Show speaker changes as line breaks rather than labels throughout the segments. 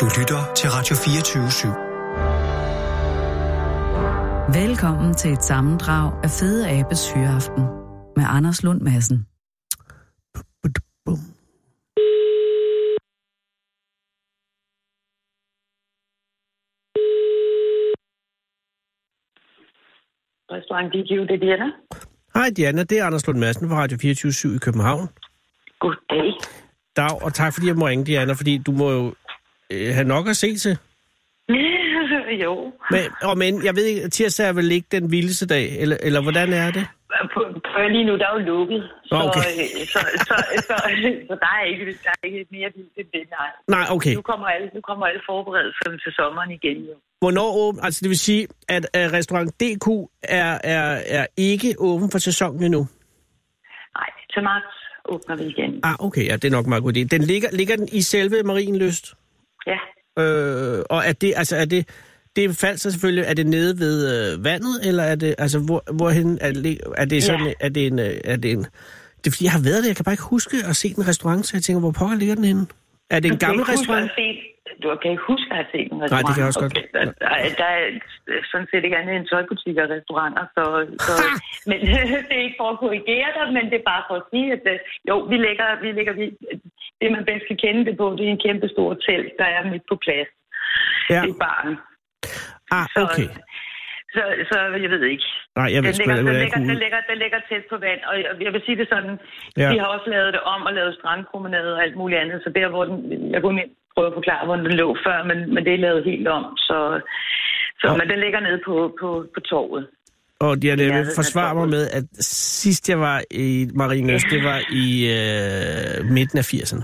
Du lytter til Radio 24
/7. Velkommen til et sammendrag af Fede Abes Hyreaften med Anders Lund Madsen.
Restaurant DQ, det er Diana.
Hej Diana, det er Anders Lund Madsen fra Radio 24 i København.
Goddag.
Dag, og tak fordi jeg må ringe, Diana, fordi du må jo øh, have nok at se til.
jo.
Men, og men, jeg ved ikke, tirsdag er vel ikke den vildeste dag, eller, eller hvordan er det?
På, på lige nu, der er jo lukket, så, okay. så, så, så, så, så der, er ikke, der er ikke mere vildt end det, nej.
Nej, okay.
Nu kommer alle, nu kommer alle forberedelserne til sommeren igen, jo.
Hvornår åben? Altså det vil sige, at, at restaurant DQ er, er, er ikke åben for sæsonen endnu?
Nej, til marts åbner vi igen.
Ah, okay, ja, det er nok meget god idé. Den ligger, ligger den i selve Marienlyst?
Ja.
Øh, og er det, altså er det, det faldt så selvfølgelig, er det nede ved øh, vandet, eller er det, altså hvor, hvorhen, er det, er det sådan, ja. er det en, øh, er det en, det er fordi, jeg har været der, jeg kan bare ikke huske at se den restaurant, så jeg tænker, hvor pokker ligger den henne? Er det en gammel restaurant?
du kan ikke huske at have set en restaurant.
Nej, det kan jeg også okay.
godt. Der, der, der er sådan set ikke andet end tøjbutikker og restauranter, så, så men det er ikke for at korrigere dig, men det er bare for at sige, at øh, jo, vi lægger, vi lægger vi, det man bedst kan kende det på, det er en kæmpe stor telt, der er midt på plads ja. i baren.
Ah, okay.
Så, så, så jeg ved ikke.
Nej, jeg ved
den ligger, den, ligger, den, ligger, den ligger tæt på vand, og jeg vil sige det sådan, ja. vi har også lavet det om og lavet strandpromenade og alt muligt andet, så der, hvor den, jeg kunne prøve at forklare, hvor den lå før, men, men det er lavet helt om, så, så og... men den ligger nede på, på, på torvet.
Og jeg ja, vil forsvare mig med, at sidst jeg var i Marienøst, det var i øh, midten af 80'erne.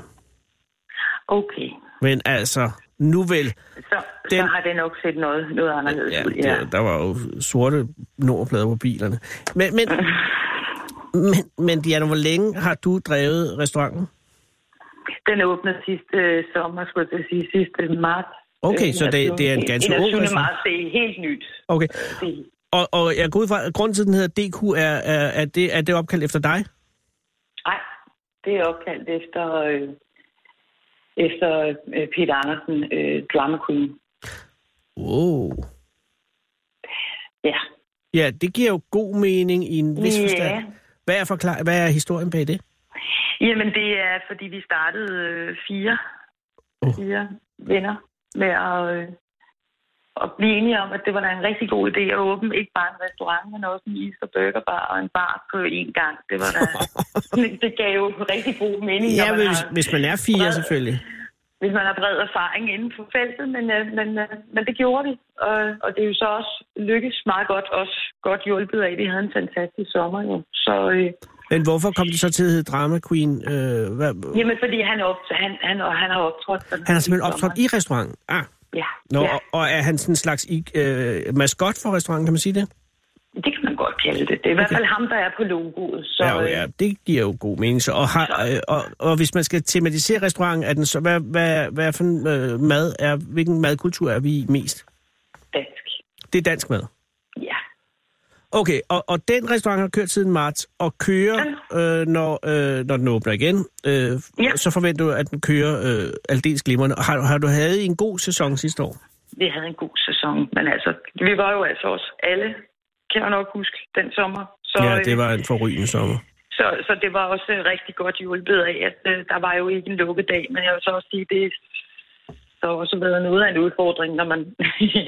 Okay.
Men altså, nu vel.
Så, den, så har det nok set noget, noget anderledes ja, ud.
Ja, der, der var jo sorte nordplader på bilerne. Men, men, men, men Diana, hvor længe har du drevet restauranten?
Den åbnede sidste øh, sommer, skulle jeg sige, sidste marts.
Okay, øh, så det, det er en ganske ung restaurant?
marts, det er helt nyt.
Okay. Og, og jeg går ud fra, at grunden til, at den hedder DQ, er, er, er, det, er det opkaldt efter dig?
Nej, det er opkaldt efter... Øh, efter øh, Peter Andersen, øh, drama queen.
Wow.
Ja.
Ja, det giver jo god mening i en vis ja. forstand. Hvad er, forklar- hvad er historien bag det?
Jamen, det er, fordi vi startede øh, fire, oh. fire venner med at, øh, at blive enige om, at det var da en rigtig god idé at åbne ikke bare en restaurant, men også en is- og burgerbar og en bar på én gang. Det, var da, det gav jo rigtig god mening.
Ja, man hvis, har, hvis man er fire bred, selvfølgelig.
Hvis man har bred erfaring inden for feltet, men, øh, men, men det gjorde vi. Og, og det er jo så også lykkedes meget godt, også godt hjulpet af, at vi havde en fantastisk sommer jo. Så, øh,
men hvorfor kom det så til at hedde Drama Queen? Øh, hvad?
Jamen, fordi han, op, han, han, han har optrådt.
Han har simpelthen optrådt i restauranten? Ah.
Ja.
Nå,
ja.
Og, og er han sådan en slags øh, maskot for restauranten, kan man sige det?
Det kan man godt kalde det. Det er okay. i hvert fald ham, der er på logoet. Så, øh,
ja, jo, ja, det giver jo god mening. Så, og, har, øh, så. Øh, og, og hvis man skal tematisere restauranten, er den så, hvad, hvad, hvad for en øh, mad er, hvilken madkultur er vi i mest?
Dansk.
Det er dansk mad?
Ja.
Okay, og, og den restaurant har kørt siden marts, og kører, ja. øh, når, øh, når den åbner igen, øh, ja. så forventer du, at den kører øh, aldeles glimrende. Har, har du havde en god sæson sidste år?
Vi havde en god sæson, men altså, vi var jo altså også alle, kan jeg nok huske, den sommer. øh,
Så, øh, ja, det var en forrygende sommer.
Så, så det var også øh, rigtig godt hjulpet af, at øh, der var jo ikke en lukkedag, men jeg vil så også sige, det så også været noget af en udfordring, når man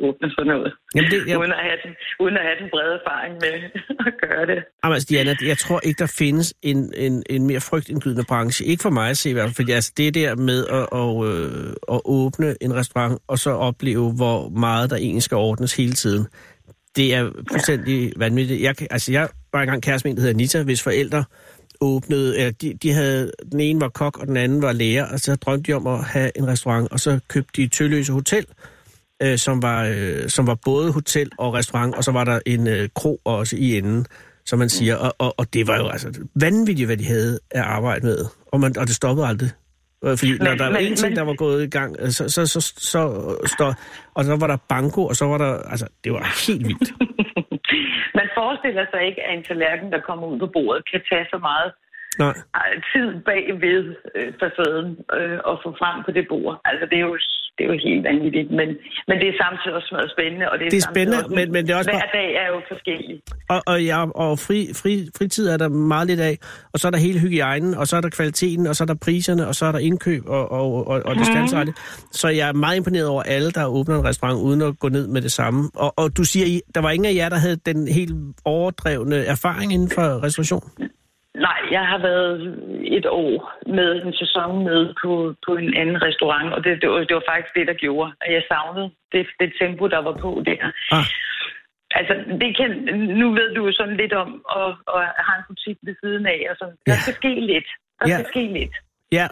åbner sådan noget. Jamen det, jeg... uden, at have den, uden at have den brede erfaring med at gøre det.
Jamen, altså, Diana, jeg tror ikke, der findes en, en, en mere frygtindgydende branche. Ikke for mig at se i hvert fald, fordi altså, det der med at, og, øh, at åbne en restaurant og så opleve, hvor meget der egentlig skal ordnes hele tiden, det er fuldstændig ja. vanvittigt. Jeg, altså, jeg var engang kæreste med en, der hedder Anita, hvis forældre åbnede, eller de, de havde, den ene var kok, og den anden var lærer, og så drømte de om at have en restaurant, og så købte de Tølløse Hotel, øh, som, var, øh, som var både hotel og restaurant, og så var der en øh, kro også i enden, som man siger, og, og, og det var jo altså vanvittigt, hvad de havde at arbejde med, og, man, og det stoppede aldrig. Øh, Fordi men, når der men, var en ting, der var gået i gang, øh, så, så, så, så, så stod, og så var der banko, og så var der, altså, det var helt vildt.
man forestiller sig ikke, at en tallerken, der kommer ud på bordet, kan tage så meget Nej. øh, tid bag ved øh, facaden øh, og få frem på det bord. Altså, det er jo det er jo helt vanvittigt, men, men det er samtidig også meget spændende. Og det er,
Det er spændende,
samtidig
men- men det er også
Hver
bare-
dag er jo forskellig.
Og, og, ja, og fri, fri, fritid er der meget lidt af, og så er der hele hygiejnen, og så er der kvaliteten, og så er der priserne, og så er der indkøb og, og, og, og distancerettet. Så jeg er meget imponeret over alle, der åbner en restaurant, uden at gå ned med det samme. Og, og du siger, I- der var ingen af jer, der havde den helt overdrevne erfaring inden for restauration?
Nej, jeg har været et år med en sæson med på, på en anden restaurant, og det, det, var, det var faktisk det, der gjorde, at jeg savnede det, det tempo, der var på der.
Ah,
Altså, det kan, nu ved du jo sådan lidt om at, at have en butik ved siden af, og sådan. Der
Ja.
skal ske lidt. Der
Ja.
skal ske lidt.
ja.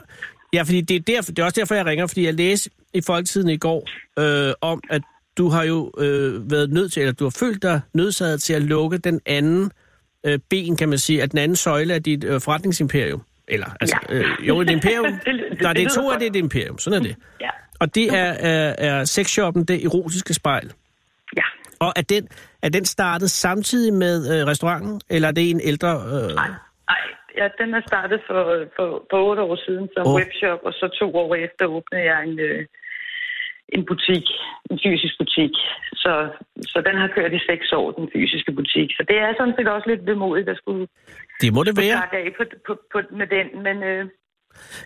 ja, fordi det er, derfor, det er også derfor, jeg ringer, fordi jeg læste i Folketiden i går øh, om, at du har jo øh, været nødt til, eller du har følt dig nødsaget til at lukke den anden øh, ben, kan man sige, at den anden søjle af dit øh, forretningsimperium. Eller, altså,
Ja.
ja. øh, jo, et imperium.
Det- det-
Nej, det er
det
to
lyder
af det, er et imperium. Sådan er det.
Ja.
Og det er, er, er sexshoppen, det erotiske spejl.
Ja.
Og er den, er den startet samtidig med øh, restauranten, eller er det en ældre... Øh...
Nej. Nej. Ja, den er startet for, for, for otte år siden som
Åh.
oh. webshop, og så to år efter åbnede jeg en, øh, en butik, en fysisk butik. Så, så den har kørt i seks år, den fysiske butik. Så det er sådan set også lidt vemodigt at skulle
Det må det
skulle
være.
starte af på, på, på, med den, men... Øh,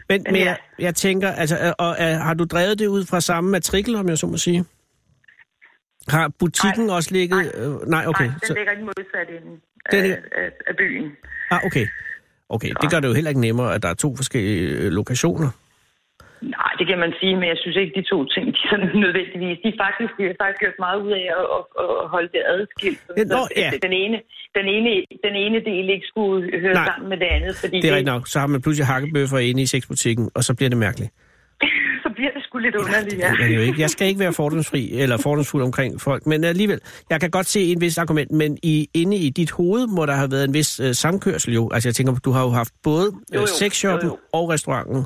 Men, men
ja.
jeg, jeg tænker, altså, er- og, er, har du drevet det ud fra samme matrikel, om jeg så må sige? Har butikken nej, også ligget... Nej, øh, nej okay.
Nej, den
så,
ligger i den modsatte ende
Den
af,
ligger-
af, af byen.
ah, okay. Okay, det gør det jo heller ikke nemmere, at der er to forskellige øh, lokationer.
Nej, det kan man sige, men jeg synes ikke, de to ting de er sådan nødvendigvis. De er faktisk, de har faktisk gjort meget ud af at, at, at holde det adskilt.
Ja,
sådan
nå,
så
ja.
den, ene, den, ene, den ene del ikke skulle høre
Nej.
sammen med det andet, fordi
Det er rigtigt nok. Så har man pludselig hakkebøffer inde i sexbutikken, og så bliver det mærkeligt.
så bliver det sgu lidt underligt. Ja.
Jeg, jeg, jo ikke. jeg skal ikke være fordomsfri eller fordomsfuld omkring folk, men alligevel, jeg kan godt se en vis argument, men i, inde i dit hoved må der have været en vis øh, samkørsel jo. Altså jeg tænker, du har jo haft både
Jo,
øh,
jo.
sexshoppen
Jo, jo.
og restauranten.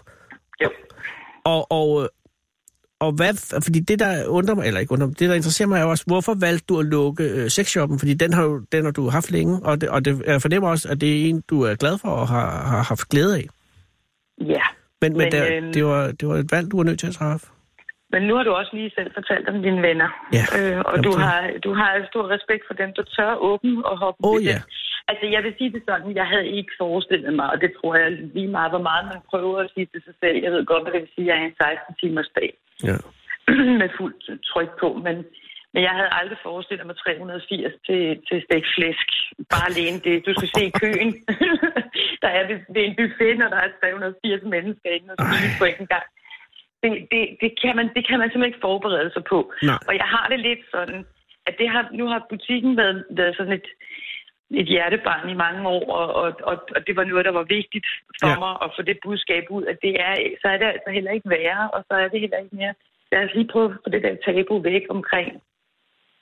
Jo.
Og, og, øh, og hvad, fordi det der undrer mig, eller ikke undrer mig, det der interesserer mig er jo også, hvorfor valgte du at lukke øh, sexshoppen? Fordi den har, jo, den har du haft længe, og, det, og det, jeg fornemmer også, at det er en, du er glad for og har, har haft glæde af.
ja.
Men, men, men
Men,
der,
øhm,
det, var, det var et valg, du var nødt til at træffe.
Men nu har du også lige selv fortalt om dine venner.
Ja.
Øh, og
Jamen,
du
det-
har, du har stor respekt for dem, der tør åbne og hoppe
Åh,
ud i
ja.
det. Altså, jeg vil sige det sådan, jeg havde ikke forestillet mig, og det tror jeg lige meget, hvor meget man prøver at sige til sig selv. Jeg ved godt, hvad det vil sige, at jeg er en 16-timers dag
Ja.
med fuldt tryk på, men, men jeg havde aldrig forestillet mig 380 til, til stegt flæsk. Bare alene det. Du skal se køen. der er ved, ved en buffet, når der er 380 mennesker inde og spise på en gang. Det, det, det, kan man, det kan man simpelthen ikke forberede sig på.
Nej.
Og jeg har det lidt sådan, at det har, nu har butikken været, været sådan et, et hjertebarn i mange år, og, og, og, og det var noget, der var vigtigt for
Ja.
ja. mig at få det budskab ud, at det er, så er det altså heller ikke værre, og så er det heller ikke mere. Lad os lige prøve at få det der tabu væk omkring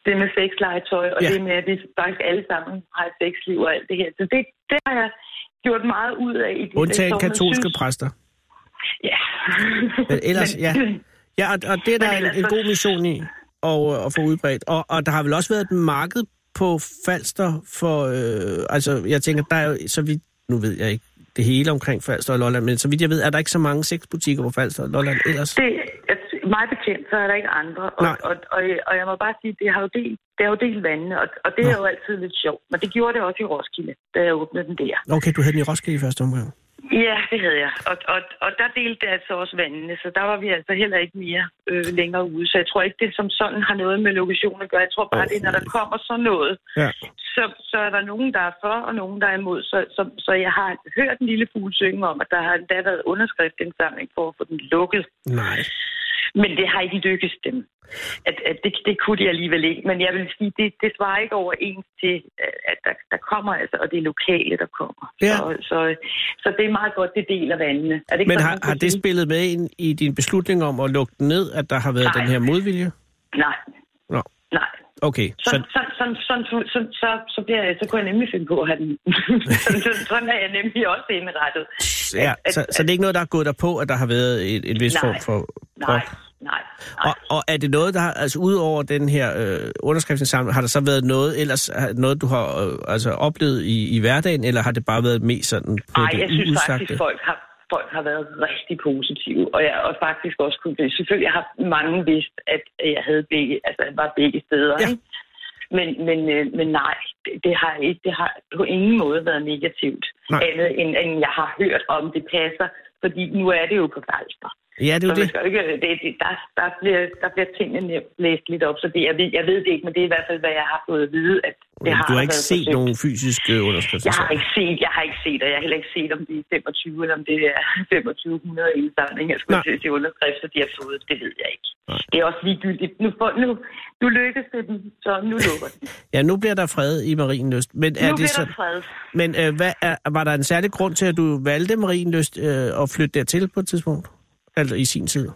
det med sexlegetøj, og
Ja.
ja. det med, at vi faktisk alle sammen har et sexliv og alt det her. Så det, det har jeg gjort meget ud af i de
Undtagen
seks år, men
katolske
synes-
præster.
Ja.
Men ellers, ja. Ja, og, og det er der en,
ellers
en
så-
god mission i at, øh, at få udbredt. Og, og der har vel også været et marked på Falster for... Øh, altså, jeg tænker, der er jo, så vidt... Nu ved jeg ikke det hele omkring Falster og Lolland, men så vidt jeg ved, er der ikke så mange sexbutikker på Falster og Lolland ellers.
Det, at, mig bekendt, så er der ikke andre. Og,
Nej.
og, og, og jeg må bare sige, det har jo delt, det har jo delt vandene, og, og det er jo altid lidt sjovt. Men det gjorde det også i Roskilde, da jeg åbnede den der.
Okay, du havde den i Roskilde i første omgang.
Ja, det havde jeg. Og, og, og der delte det altså også vandene, så der var vi altså heller ikke mere øh, længere ude. Så jeg tror ikke, det som sådan har noget med lokation at gøre. Jeg tror bare, det er, når der kommer sådan noget,
Ja.
så, så er der nogen, der er for, og nogen, der er imod. Så, så, så jeg har hørt en lille fugl synge om, at der har endda været underskriftindsamling for at få den lukket.
Nej.
Men det har ikke lykkes dem. At, at det, det kunne de alligevel ikke. Men jeg vil sige, det, det svarer ikke overens til, at der, der kommer, altså, og det er lokale, der kommer.
Ja.
Så, så, så det er meget godt, det deler vandene. Er det ikke
Men
sådan,
har,
man kan
har det
sige?
spillet med ind i din beslutning om at lukke den ned, at der har været
Nej.
den her modvilje?
Nej,
Nå,
nej.
okay.
Så,
Så,
så, så, så, så, så, så, så, bliver jeg, så kunne jeg nemlig finde på at have den. sådan, sådan- sådan er jeg nemlig også indrettet.
ja,
at-
så, så det er ikke noget, der er gået dig på, at der har været en, en vis
Nej.
form for...
Nej,
for-
nej, nej.
Og, og er det noget, der har, altså udover den her øh, underskriftsindsamling, har der så været noget ellers, har- noget du har øh, altså, oplevet i, i hverdagen, eller har det bare været mest sådan på
Nej,
det
jeg synes
uudsagte?
faktisk, folk har folk har været rigtig positive, og jeg og faktisk også kunne blive... Selvfølgelig har mange vidst, at jeg havde begge, altså, var begge steder,
Ja.
ja. ikke? Men, men, øh, men nej, det- det har, ikke, det har på ingen måde været negativt.
Nej.
Andet end, end jeg har hørt om, det passer, fordi nu er det jo på Falster.
Ja, det er
Så
jo
man
det.
skal jo ikke, det, det, der, der, bliver, der bliver tingene nævnt- læst lidt op, så det, jeg, ved, jeg ved det ikke, men det er i hvert fald, hvad jeg har fået at vide. At det
Men
har
du har ikke
været
set
forsøgt.
nogen fysisk øh, underskrift.
Jeg har ikke set, jeg har ikke set, og jeg har heller ikke set, om det er 25, eller om det er 2500 indsamlinger, skulle
Nej.
jeg Altså, til at sige underskrifter, de har fået. Det ved jeg ikke.
Nej.
Det er også ligegyldigt. Nu, får, nu, nu lykkes det dem, så nu lukker den.
Ja, nu bliver der fred i Marienlyst. Men
nu
er det
bliver
så...
der fred.
Men øh, hvad er, var der en særlig grund til, at du valgte Marienlyst øh, at flytte dertil på et tidspunkt? Altså i sin tid?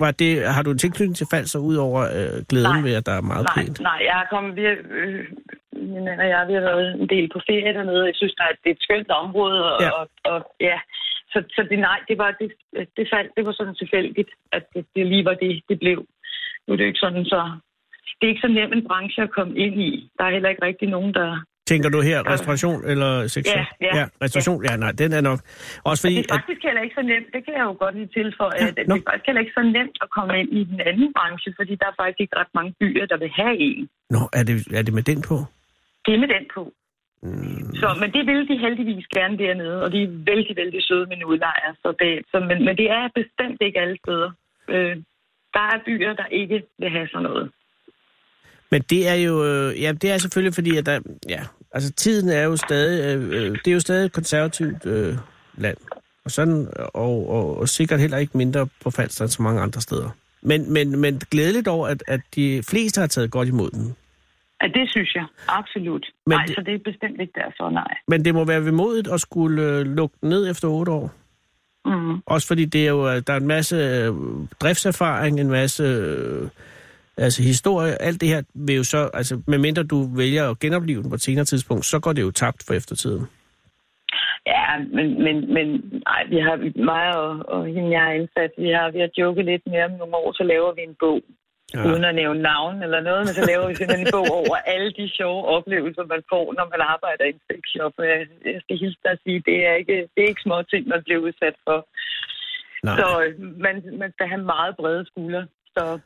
Var det, har du en tilknytning til Falster, ud over øh, glæden
Nej.
ved, at der er meget
Nej,
pænt?
nej, jeg har kommet, vi har, øh, min mand og jeg, vi har været en del på ferie dernede, og jeg synes, at det er et skønt område, og
Ja.
ja, og, og, ja. så, så det, nej, det var, det, det, faldt, det var sådan tilfældigt, at det, det lige var det, det blev. Nu er det jo ikke sådan, så det er ikke så nem en branche at komme ind i. Der er heller ikke rigtig nogen, der...
Tænker du her restauration eller sektion?
Ja, ja,
ja restauration, ja. ja, nej, den er nok. Også fordi,
Det er
at,
faktisk heller ikke så nemt, det kan jeg jo godt lige tilføje,
Ja,
ja, at det
nå.
er faktisk heller ikke så nemt at komme ind i den anden branche, fordi der er faktisk ikke ret mange byer, der vil have en.
nå, er det, er det med den på?
Det er med den på. Mm. Så, men det ville de heldigvis gerne dernede, og de er vældig, vældig søde med en udlejer. Så det, så, men, men det er bestemt ikke alle steder. Øh, der er byer, der ikke vil have sådan noget.
Men det er jo, øh, ja, det er selvfølgelig fordi, at der, ja, altså tiden er jo stadig, øh, øh, det er jo stadig et konservativt øh, land. Og sådan, og, og, og sikkert heller ikke mindre på Falster end så mange andre steder. Men, men, men glædeligt over, at, at de fleste har taget godt imod den.
Ja, det synes jeg. Absolut.
Men
Men nej,
det-
det... så det er bestemt ikke derfor, nej.
Men det må være vemodigt at skulle øh, lukke den ned efter otte år.
Mm.
Også fordi det er jo, øh, der er en masse øh, driftserfaring, en masse øh, altså historie. Alt det her vil jo så, altså medmindre du vælger at genopleve den på et senere tidspunkt, så går det jo tabt for eftertiden.
Ja, men, men, men nej, vi har, mig og, og hende, jeg har ansat, vi har, vi har joket lidt mere om nogle år, så laver vi en bog. Ja. Uden at nævne navn eller noget, men så laver vi simpelthen en bog over alle de sjove oplevelser, man får, når man arbejder i en sexshop. Og Jeg, jeg skal hilse dig at sige, det er ikke, det er ikke små ting, man bliver udsat for.
Nej.
Så øh, man, man skal have meget brede skuldre. Så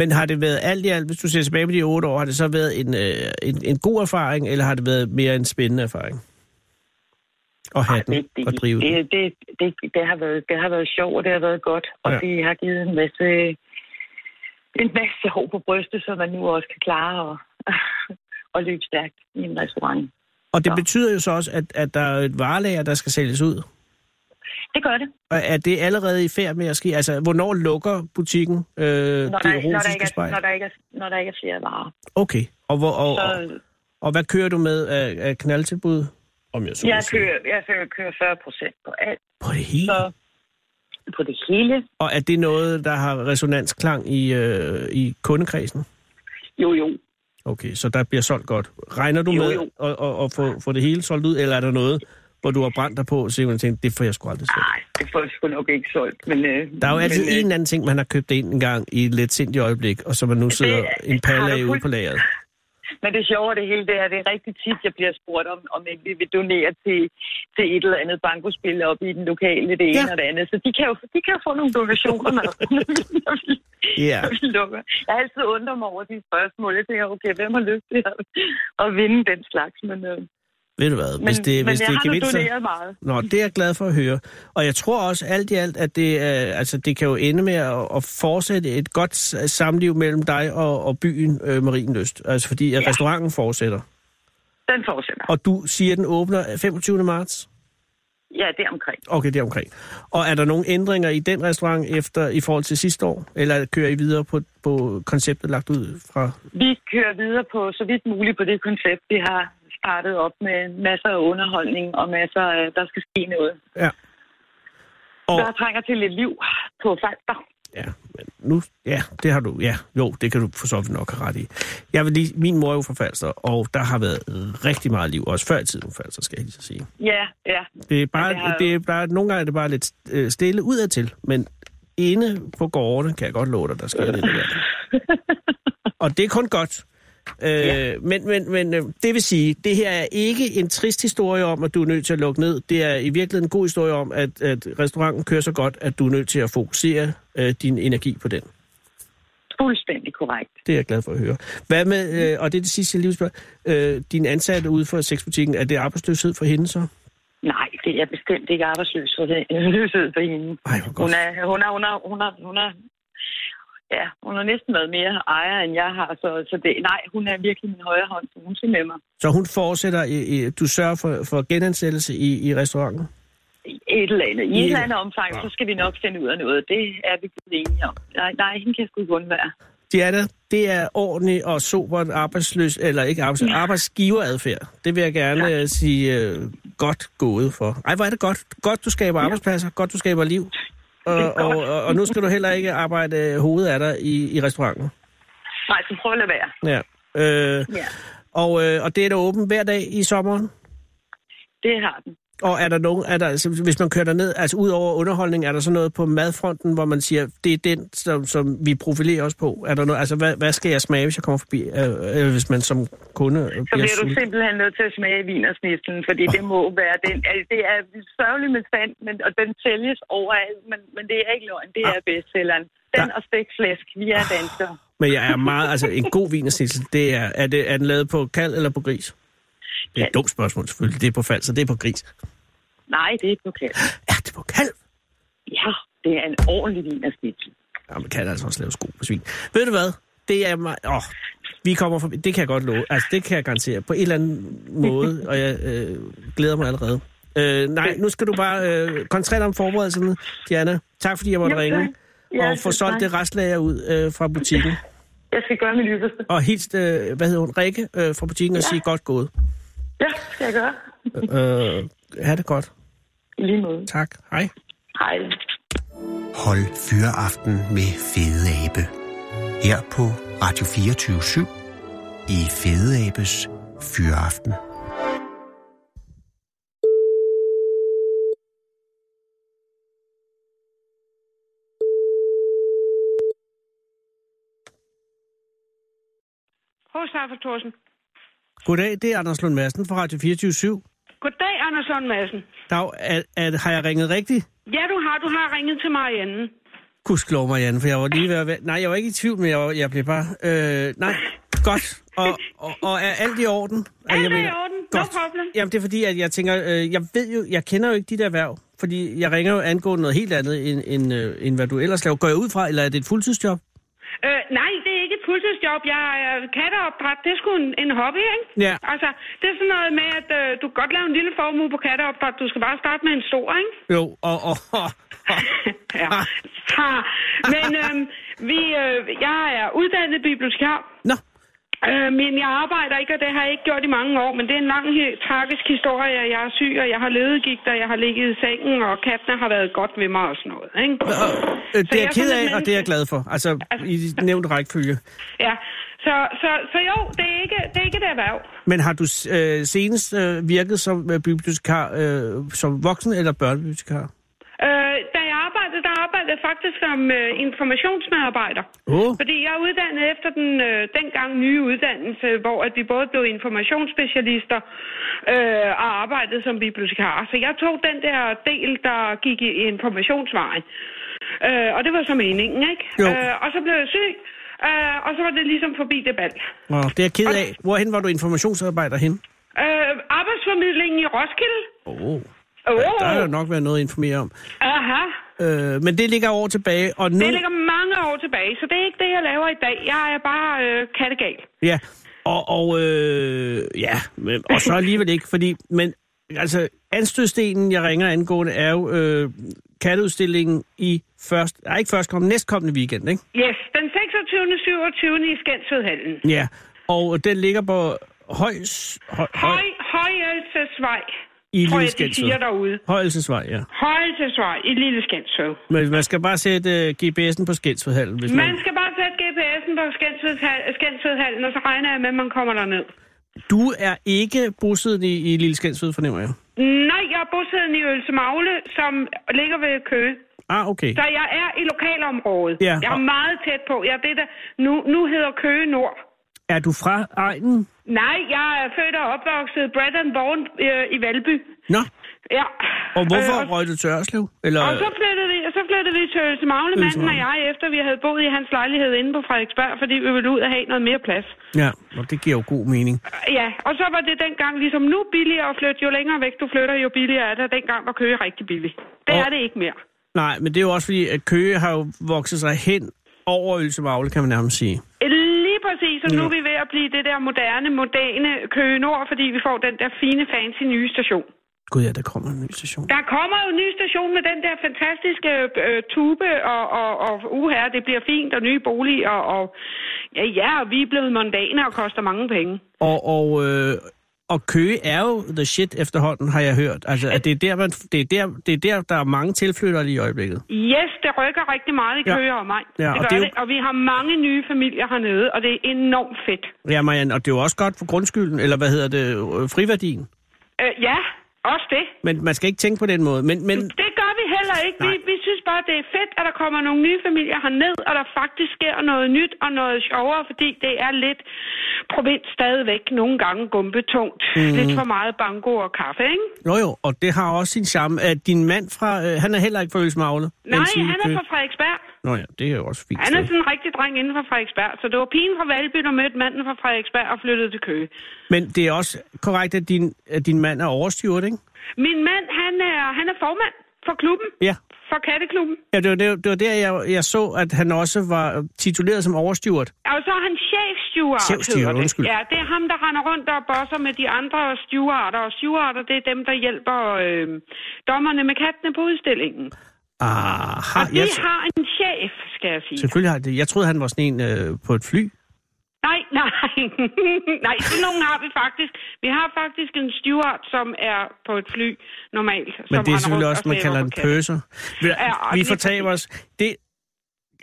Men har det været alt i alt, hvis du ser tilbage på de otte år, har det så været en, øh, en, en god erfaring, eller har det været mere en spændende erfaring? At have
det,
den
det,
og drive den.
det, det, det, det, har været, det har været sjovt, og det har været godt. Og
Ja.
ja. det har givet en masse, en masse hår på brystet, så man nu også kan klare og, og løbe stærkt i en restaurant.
Og det
så.
betyder jo så også, at, at der er et varelager, der skal sælges ud.
Det gør det.
Og er det allerede i færd med at ske? Altså, hvornår lukker butikken øh, det
Når der, når, der
erotiske
ikke er,
spejl?
når, der ikke er, når der ikke er flere varer.
Okay. Og, hvor, og,
Så
og, og hvad kører du med af, af knaldtilbud? Om jeg så må
jeg
sige.
kører, jeg kører- kører 40 procent på alt,
På det hele.
så på det hele.
Og er det noget, der har resonansklang i, øh, i kundekredsen?
Jo, jo.
Okay, så der bliver solgt godt. Regner du
Jo,
med
jo.
at, at, at få, få det hele solgt ud, eller er der noget, hvor du har brændt dig på, og simpelthen tænkt, det får jeg sgu aldrig solgt?
Nej, det får jeg sgu nok ikke solgt. Men, øh,
Der er jo altid
men,
en eller anden ting, man har købt ind en gang i et lidt sindigt øjeblik, og så man nu sidder en palle
har
af
du
ude
fuldt-
på lageret.
Men det sjove af det hele, det er, at det er rigtig tit, jeg bliver spurgt om, om ikke vi vil donere til, til et eller andet bankospil op i den lokale, det ene
Ja.
ja. og det andet. Så de kan jo, de kan jo få nogle donationer, når, når, vi,
Ja.
når vi lukker. Jeg har altid undret mig over de spørgsmål. Jeg tænker, okay, hvem har lyst til at, at vinde den slags? Men, øh,
Ved du hvad,
men,
hvis det,
men
hvis
jeg
det er
har nu
gevinster...
doneret meget.
Nå, det er jeg glad for at høre. Og jeg tror også alt i alt, at det, øh, altså, det kan jo ende med at, at fortsætte et godt s- samliv mellem dig og, og byen øh, Marienløst. Altså fordi ja. restauranten fortsætter.
Den fortsætter.
Og du siger, at den åbner 25. marts?
Ja, det er omkring.
Okay, det er omkring. Og er der nogle ændringer i den restaurant efter i forhold til sidste år? Eller kører I videre på, på konceptet lagt ud fra...
Vi kører videre på så vidt muligt på det koncept, vi har startet op med masser af underholdning og masser af, der skal ske noget.
Ja. Og,
Der trænger til lidt liv på Falster.
Ja, men nu, ja, det har du, ja, jo, det kan du for så vidt nok have ret i. Jeg vil lige, min mor er jo fra Falster, og der har været rigtig meget liv, også før i tiden på Falster, skal jeg lige så sige.
Ja, ja.
Det er bare,
Ja, det har
det er bare, nogle gange er det bare lidt øh, stille udadtil, men inde på gårdene kan jeg godt love dig, der sker lidt af hvert. Og det er kun godt. Øh, ja. Men, men, men øh, det vil sige, det her er ikke en trist historie om, at du er nødt til at lukke ned. Det er i virkeligheden en god historie om, at, at restauranten kører så godt, at du er nødt til at fokusere øh, din energi på den.
Fuldstændig korrekt.
Det er jeg glad for at høre. Hvad med, øh, og det er det sidste, jeg lige vil spørge, øh, din ansatte ude for sexbutikken, er det arbejdsløshed for hende så?
Nej, det er bestemt ikke arbejdsløshed for hende.
Ej, hvor godt.
Hun er, hun er, hun er, hun er, hun er, ja, hun har næsten været mere ejer, end jeg har. Så, så det, nej, hun er virkelig min højre hånd, så hun skal med mig.
Så hun fortsætter, i, i, du sørger for, for genansættelse i, i restauranten?
Et eller andet. I
I-
et eller andet omfang, så skal vi nok finde ud af noget. Det er vi blevet enige om. Nej, nej, hende kan jeg sgu ikke undvære.
Det er det. Det er ordentlig og sobert arbejdsløs, eller ikke arbejdsløs, arbejdsgiveradfærd. Det vil jeg gerne ja. sige øh, godt gået for. Ej, hvor er det godt. Godt, du skaber arbejdspladser. Godt, du skaber liv. Og, og, og, og nu skal du heller ikke arbejde øh, hovedet af dig i, i restauranten.
Nej, så prøv at lade være.
Ja. Øh,
Ja,
og, øh, og det er da åbent hver dag i sommeren?
det har den.
Og er der nogen, er der, altså, hvis man kører derned, altså ud over underholdning, er der så noget på madfronten, hvor man siger, det er den, som, som vi profilerer os på? Er der noget, altså, hvad, hvad skal jeg smage, hvis jeg kommer forbi, øh, øh, hvis man som kunde øh,
Så
bliver
bliver du
sulten?
simpelthen nødt til at smage vinersnitlen, fordi det må være den. Altså, det er sørgeligt med sand, men, og den sælges overalt, men, men det er ikke løgn. Det er bestselleren. Den
Der-
og stegt flæsk. Vi er danskere.
Men jeg er meget, altså en god vinersnitsel, det er, er, det, er den lavet på kald eller på gris? Det er et
Kalv.
dumt spørgsmål selvfølgelig, det er på fald, så det er på gris.
Nej, det er ikke lokalt.
Er det på kalv?
Ja, det er en ordentlig vinersnitlen.
Ja, man kan altså også lave sko på svin. Ved du hvad? Det er mig... Åh, vi kommer forbi. Det kan jeg godt love. Altså, det kan jeg garantere på en eller anden måde, og jeg øh, glæder mig allerede. Øh, nej, nu skal du bare øh, koncentrere dig om forberedelserne, Diana. Tak fordi jeg måtte
Jo, tak.
ringe.
Ja,
og få
selv
solgt
tak.
det restlager ud øh, fra butikken.
Jeg skal gøre mit yderste.
Og hils, øh, hvad hedder hun, Rikke øh, fra butikken og sige godt gået.
Ja, det skal jeg gøre.
Øh, ha' det godt.
I lige måde.
Tak. Hej.
Hej.
Hold fyreaften med Fede Abe. Her på Radio 24 i Fede Abes Fyreaften.
Hos Arthur Thorsen.
Goddag, det er Anders Lund Madsen fra Radio 24
Goddag, Anders Lund Madsen.
Dag, er, er, har jeg ringet rigtigt?
Ja, du har. Du har ringet til Marianne.
Gudskelov, Marianne, for jeg var lige ved at være... Nej, jeg var ikke i tvivl, men jeg, var, jeg blev bare... Øh, nej, godt. Og, og, og er alt i orden? Og
Alt
jeg
er i orden. No problem.
Jamen, det er fordi, at jeg tænker... Øh, jeg ved jo... Jeg kender jo ikke dit erhverv. Fordi jeg ringer jo angående noget helt andet, end, end, øh, end hvad du ellers laver. Går jeg ud fra, eller er det et fuldtidsjob?
Øh, nej, det er ikke et fuldtidsjob. Jeg er øh, katteopdræt. Det er sgu en, en hobby, ikke?
Ja.
Altså, det er sådan noget med, at øh, du kan godt lave en lille formue på katteopdræt. Du skal bare starte med en stor, ikke?
Jo, og... og, og, og
ja. Ha. Men øh, vi, øh, jeg er uddannet bibliotekar.
nå,
Øh, men jeg arbejder ikke, og det har jeg ikke gjort i mange år, men det er en lang, he- tragisk historie, og jeg er syg, og jeg har ledegigt, og jeg har ligget i sengen, og kattene har været godt ved mig og sådan noget, ikke?
øh, det
jeg
er jeg
er
ked
sådan et
af, og det er jeg glad for. Altså, i nævnt rækkefølge.
Ja, så, så, så jo, det er ikke, det er ikke et erhverv.
Men har du øh, senest øh, virket som øh, bibliotekar, øh, som voksen eller børnebibliotekar?
Øh, da jeg arbejdede, der arbejdede jeg faktisk som øh, informationsmedarbejder.
Åh.
Fordi jeg er uddannet efter den øh, dengang nye uddannelse, hvor at vi både blev informationsspecialister øh, og arbejdede som bibliotekarer. Så jeg tog den der del, der gik i informationsvejen. Øh, og det var så meningen, ikke?
Jo.
Øh, og så blev jeg syg, øh, og så var det ligesom forbi det bal.
Nå, det er jeg ked af. Hvorhen var du informationsarbejder hen?
Øh, arbejdsformidlingen i Roskilde.
Åh, oh,
Åh,
der har jo nok været noget at informere om.
aha.
Øh, men det ligger over tilbage, og nu...
Det ligger mange år tilbage, så det er ikke det, jeg laver i dag. Jeg er bare øh, kattegal.
Ja, og, og øh, ja, men- og så alligevel ikke, fordi... Men altså, anstødstenen, jeg ringer angående, er jo øh, katteudstillingen i først... Nej, ikke førstkommende, næstkommende weekend, ikke?
Yes, den 26. 27. i Skændsvedhallen.
Ja, og den ligger på Højs... Høj,
Høj, Højelsesvej,
I Lille
tror jeg, de siger
Skensved.
derude.
Højelsesvej, ja.
Højelsesvej i Lille Skændsved.
Men man skal bare sætte øh, GPS'en på skældsvedhallen, hvis
Man skal bare sætte GPS'en på Skændsvedhal- Skændsvedhallen, og så regner jeg med, at man kommer derned.
Du er ikke bosiddende i, i Lille Skensved, fornemmer jeg.
Nej, jeg er bosiddende i Ølsemagle, som ligger ved Køge.
Ah, okay.
Så jeg er i lokalområdet.
Ja,
Jeg er
og-
meget tæt på. Jeg er det, der nu, nu hedder Køge Nord.
Er du fra egnen?
Nej, jeg er født og opvokset Brad and Born øh, i Valby.
Nå,
Ja.
og hvorfor
Øh,
røg du til Ørslev? Eller,
og, og så flyttede vi, så flyttede vi til Ølse Magle, manden og jeg, efter vi havde boet i hans lejlighed inde på Frederiksberg, fordi vi ville ud og have noget mere plads.
ja, og det giver jo god mening.
Ja, og så var det dengang ligesom nu billigere at flytte. Jo længere væk du flytter, jo billigere er det. Og Dengang var Køge rigtig billig. Det
Og-
er det ikke mere.
Nej, men det er jo også fordi, at Køge har jo vokset sig hen over Ølsemagle, kan man nærmest sige.
Lige præcis, og nu er vi ved at blive det der moderne, moderne Køge Nord, fordi vi får den der fine, fancy nye station.
Gud ja, der kommer en ny station.
Der kommer jo en ny station med den der fantastiske øh, tube, og, og, og uha, det bliver fint, og nye boliger, og ja, ja, og vi er blevet mondane og koster mange penge.
Og, og, øh, og Køge er jo the shit efterhånden, har jeg hørt. Altså, at det, er der, man, det, er der, det er der, der er mange tilflyttere lige i øjeblikket.
Yes, det rykker rigtig meget i
Ja.
Køge og mig.
Ja,
det
og
gør
det er jo-
det, og vi har mange nye familier hernede, og det er enormt fedt.
Ja, Marianne, og det er jo også godt for grundskylden, eller hvad hedder det, øh, friværdien.
Øh, ja, også det.
Men man skal ikke tænke på den måde. Men, men
Det gør vi heller ikke. Vi, vi synes bare, det er fedt, at der kommer nogle nye familier herned, og der faktisk sker noget nyt og noget sjovere, fordi det er lidt provins stadigvæk nogle gange gumbetungt. Mm. Lidt for meget banko og kaffe, ikke?
jo jo, og det har også sin charme, at din mand fra, øh, han er heller ikke fra Ølsemagle. men
Nej,
sydlig
han er
Køge.
fra Frederiksberg.
øh, Nå ja, det er jo også fint.
Han er
sted.
sådan en rigtig dreng inden for Frederiksberg, så det var pigen fra Valby, der mødte manden fra Frederiksberg og flyttede til Køge.
Men det er også korrekt, at din, at din mand er overstyret, ikke?
Min mand, han er, han er formand for klubben,
Ja.
for katteklubben.
Ja, det var, det var, det var der, jeg, jeg så, at han også var tituleret som overstyret.
Og så er han chefsteward,
Chefsteward,
hedder det.
undskyld.
Ja, det er ham, der render rundt og bosser med de andre stewarder. Og stewarder, det er dem, der hjælper øh, dommerne med kattene på udstillingen.
Ah, Aha,
Og de
jeg,
har en chef, skal jeg sige.
selvfølgelig har det. Jeg troede, han var sådan en øh, på et fly.
Nej, nej. nej, sådan nogen har vi faktisk. Vi har faktisk en steward, som er på et fly normalt.
Men
som
det er
render
selvfølgelig
rundt
også,
og
man
slæber
kalder en
på katte.
pøser. Vi,
Ja, og
vi
lige
fortaber os. Det,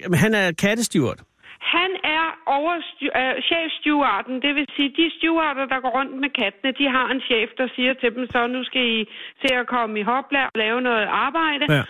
jamen, han er kattesteward.
Han er over øh, chefstewarden, det vil sige, de stewarder, der går rundt med kattene, de har en chef, der siger til dem, så nu skal I se at komme i hopla og lave noget arbejde.
Ja.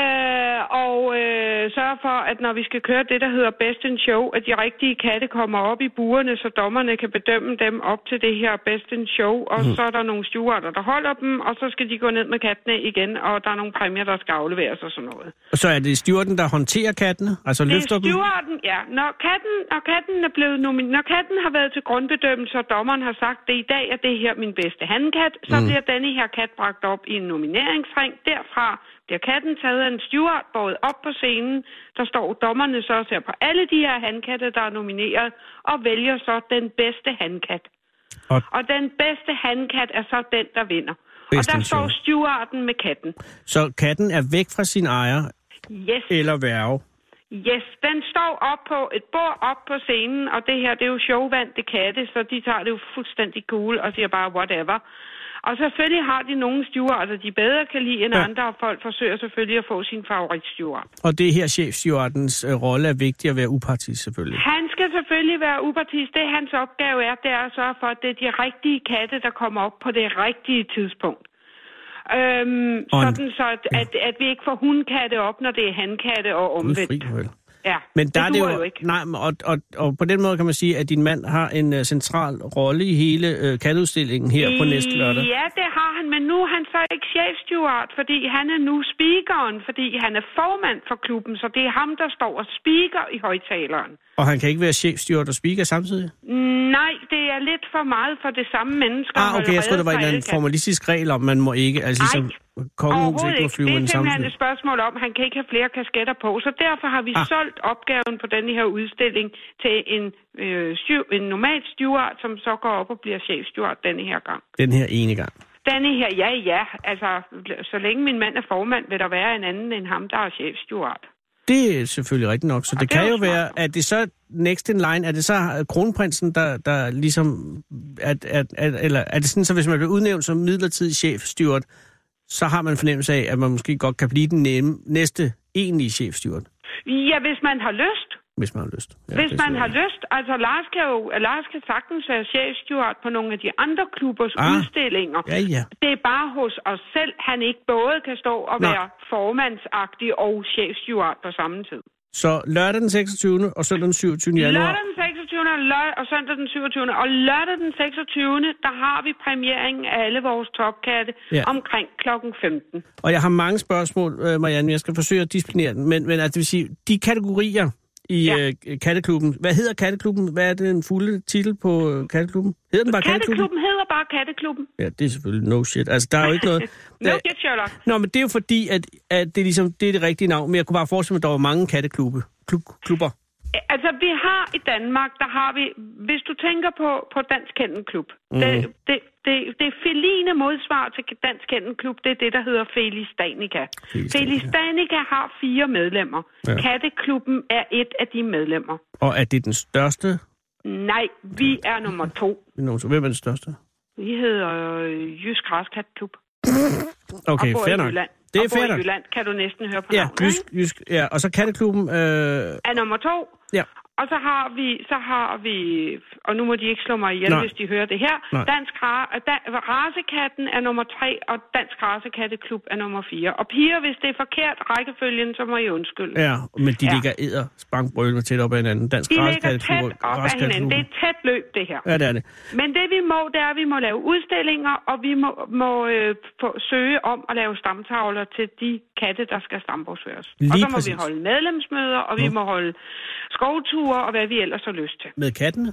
Øh, og øh, sørge for, at når vi skal køre det, der hedder Best in Show, at de rigtige katte kommer op i burerne, så dommerne kan bedømme dem op til det her Best in Show. Og mm. så er der nogle stewarder, der holder dem, og så skal de gå ned med kattene igen, og der er nogle præmier, der skal afleveres og sådan noget.
Og så er det stewarden, der håndterer kattene, altså
Det er
løfter dem.
stewarden, ja. Når katten, når katten er blevet nomin- når katten har været til grundbedømmelse, og dommeren har sagt, det i dag er det her min bedste handkat, så mm. bliver denne her kat bragt op i en nomineringsring. Derfra bliver katten taget af en steward, båret op på scenen. Der står dommerne så og ser på alle de her handkatte, der er nomineret, og vælger så den bedste handkat.
Og-
Og, og den bedste handkat er så den, der vinder. Og
Best
der
in
står
show.
stewarden med katten.
Så katten er væk fra sin ejer
Yes.
eller værve.
Yes, den står op på et bord op på scenen, og det her, det er jo showvandte katte, så de tager det jo fuldstændig cool og siger bare whatever. Og selvfølgelig har de nogle stewarder, altså de bedre kan lide end
Ja.
ja. andre, og folk forsøger selvfølgelig at få sin favoritsteward.
Og det er her chefstewardens øh, rolle er vigtig at være upartisk selvfølgelig.
Han skal selvfølgelig være upartisk. Det hans opgave er, det er at sørge for, at det er de rigtige katte, der kommer op på det rigtige tidspunkt. Øhm,
Og en-
sådan så, at, at, at vi ikke får hundkatte op, når det er hankatte og
Gud fri,
omvendt.
vel.
Ja,
Men der
duer
er det jo,
jo ikke.
Nej, men og, og, og på den måde kan man sige, at din mand har en uh, central rolle i hele uh, katteudstillingen her på næste lørdag.
Mm, Ja, det har han, men nu er han så ikke chefsteward, fordi han er nu speakeren, fordi han er formand for klubben, så det er ham, der står og speaker i højtaleren.
Og han kan ikke være chefstyret og speaker samtidig?
Nej, det er lidt for meget for det samme menneske. at
Ah,
holde
okay, jeg troede, der
rede
var en eller
for alle
anden
kan-
formalistisk regel om, man må ikke, altså
Nej,
ligesom kongehuset
Overhovedet
ikke må
ikke.
flyve
Det
under
er
samme
simpelthen et
fly.
spørgsmål om, han kan ikke have flere kasketter på, så derfor har vi
Ah.
ah. solgt opgaven på denne her udstilling til en, øh, syv, en normal steward, som så går op og bliver chefsteward denne her gang.
Den her ene gang.
Denne her, ja, ja. Altså, så længe min mand er formand, vil der være en anden end ham, der er chefsteward.
Det er selvfølgelig rigtigt nok, så det, det
det er
kan jo
jo smart.
være, at det så next in line, er det så øh, kronprinsen, der, der ligesom, at, at, at, eller er det sådan, så hvis man bliver udnævnt som midlertidig chefstyret, så har man en fornemmelse af, at man måske godt kan blive den nemme, næste egentlige chefstyret,
Ja, hvis man har lyst.
hvis man har lyst. Ja,
Ja, hvis
det er
man har
selvfølgelig.
lyst. Altså, Lars kan jo Lars kan sagtens være chefsteward på nogle af de andre klubbers
Ah.
ah. udstillinger.
Ja, ja.
Det er bare hos os selv, han ikke både kan stå og
Nej.
være formandsagtig og chefsteward på samme tid.
Så lørdag den 26. og søndag den 27. januar.
Lørdag den 26. og, lø- og søndag den 27. Og lørdag den 26. der har vi premieringen af alle vores topkatte
Ja.
ja. omkring klokken 15.
Og jeg har mange spørgsmål, øh, Marianne, men jeg skal forsøge at disciplinere den. Men, men altså, det vil sige, de kategorier i ja.
Ja.
øh, katteklubben, hvad hedder katteklubben? Hvad er det en fulde titel på øh, katteklubben? Hedder den bare katteklubben?
Katteklubben hedder bare Katteklubben.
Ja, det er selvfølgelig no shit. Altså, der er jo ikke noget...
No
Der-
shit, Sherlock.
Nå, men det er jo fordi, at, at det, er ligesom, det er det rigtige navn, men jeg kunne bare forestille mig, at der var mange katteklubbe. Klub, klubber.
Altså, vi har i Danmark, der har vi, hvis du tænker på, på Dansk Kennelklub,
Mhm.
mm. det, det, det, det feline modsvar til Dansk Kennelklub, det er det, der hedder Felis Danica.
Felis
Felis Danica har fire medlemmer.
Ja.
Ja. Katteklubben er et af de medlemmer.
Og er det den største?
Nej, vi er nummer to.
Nå, så Hvem er den største?
Vi hedder øh, Jysk Græskatklub.
Okay,
og bor
fair
i
nok.
Jylland.
Det er
og bor
fair
i
nok.
Jylland, Mm. kan du næsten høre på
Ja,
navnet,
jysk,
ikke?
jysk, ja. Og så katteklubben, øh,
Er nummer to.
ja.
Og så har vi, så har vi, og nu må de ikke slå mig ihjel,
Nej.
Nej. hvis de hører det her.
Nej.
Dansk ra- da, Rasekatten er nummer tre, og Dansk Rasekatteklub er nummer fire. Og piger, hvis det er forkert rækkefølgen, så må I undskylde.
Ja, men de ja.
Ja.
ligger æder sprangbrølmer tæt op ad hinanden. Dansk
De ligger
Raskatteklub-
tæt op af hinanden. Det er et tæt løb, det her.
Ja, det er det.
Men det vi må, det er, at vi må lave udstillinger, og vi må, må øh, få, søge om at lave stamtavler til de katte, der skal stamborgsføres. Og
Lige
så må
præcis.
vi holde medlemsmøder, og vi må holde skovture, og hvad vi ellers har lyst til.
Med kattene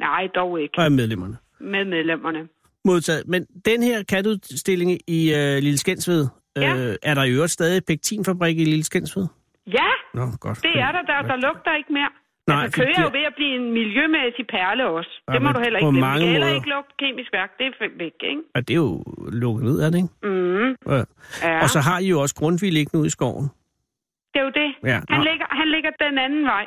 Nej, dog ikke.
og af medlemmerne.
med medlemmerne.
Modtaget. Men den her katudstilling i øh, Lille Skensved, øh,
Ja.
er der i øvrigt stadig pektinfabrik i Lille Skensved?
Ja,
Nå, godt.
det er der. Der, der lugter ikke mere.
Nej,
Nej, altså, køer
fordi-
er jo ved at blive en miljømæssig perle også.
Ja,
Ja, det må
men
du heller
på
ikke glemme.
mange
Det kan heller
måder.
ikke lugte kemisk værk. Det er f- væk, ikke?
Og det er jo lukket ned, er det ikke?
Mm,
Ja.
ja.
Og så har I jo også Grundtvig liggende ude i skoven.
Det er jo det.
Ja,
han,
nå.
ligger, han ligger den anden vej.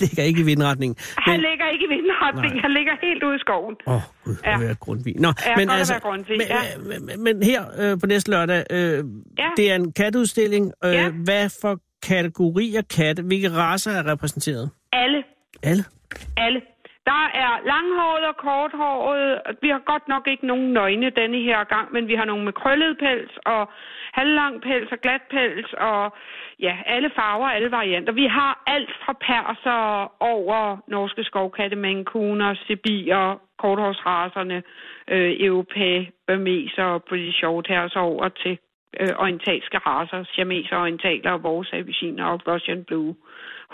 ligger ikke i vindretningen.
Han men... ligger ikke i vindretning.
Nej.
Han ligger helt ude i skoven.
Åh, oh, gud, ja.
Ja.
hvor er jeg Grundtvig. Nå,
Ja,
men
godt at
altså,
være Grundtvig,
men,
ja.
øh, men, men her øh, på næste lørdag, øh,
Ja.
det er en katudstilling. Øh,
Ja.
Hvad for kategorier katte, hvilke raser er repræsenteret?
Alle.
Alle.
Alle. Der er langhåret og korthåret. Vi har godt nok ikke nogen nøgne denne her gang, men vi har nogle med krøllet pels og halvlang pels og glat pels og ja, alle farver, alle varianter. Vi har alt fra perser over norske skovkatte, mankuner, sibier, korthårsraserne, øh, europæ, burmeser og british shorthairs over til øh, orientalske raser, siameser, orientaler og vores abisiner og Russian blue.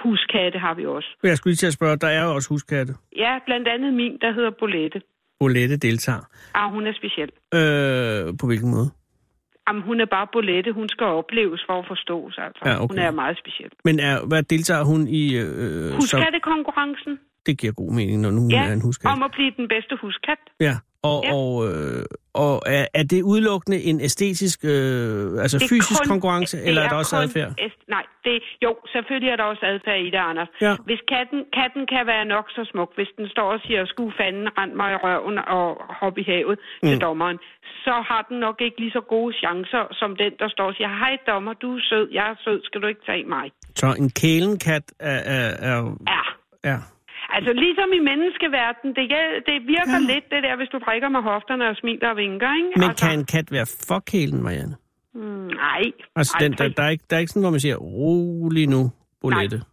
Huskatte har vi også.
Jeg skulle lige til at spørge, der er jo også huskatte.
Ja, blandt andet min, der hedder Bolette.
Bolette deltager.
Ah, hun er speciel.
Øh, på hvilken måde?
Jamen, hun er bare Bolette. Hun skal opleves for at forstås, altså.
Ja, okay.
Hun er meget speciel.
Men er, hvad deltager hun i? Øh, så
Huskattekonkurrencen.
det giver god mening, når nu hun
Ja,
er en huskat.
om at blive den bedste huskat.
Ja, og,
Ja.
og, øh, og er, er det udelukkende en æstetisk, øh, altså
Det er
fysisk
kun-
konkurrence, eller er der også
kun
adfærd?
est- nej, det, jo, selvfølgelig er der også adfærd i det, Anders.
Ja.
Hvis katten, katten kan være nok så smuk, hvis den står og siger, skue fanden, rend mig i røven og hop i havet mm. til dommeren, så har den nok ikke lige så gode chancer som den, der står og siger, hej dommer, du er sød, jeg er sød, skal du ikke tage mig?
Så en kælenkat er... er, er
Ja.
ja.
Altså ligesom i menneskeverdenen, det, hjæl- det virker ja. lidt det der, hvis du drikker med hofterne og smiler og vinker, ikke?
Men
altså,
kan en kat være for kælen, Marianne?
mm, Nej.
Altså, den, der,
aldrig.
der, er ikke, der er ikke sådan, hvor man siger, rolig nu, Bolette. Nej.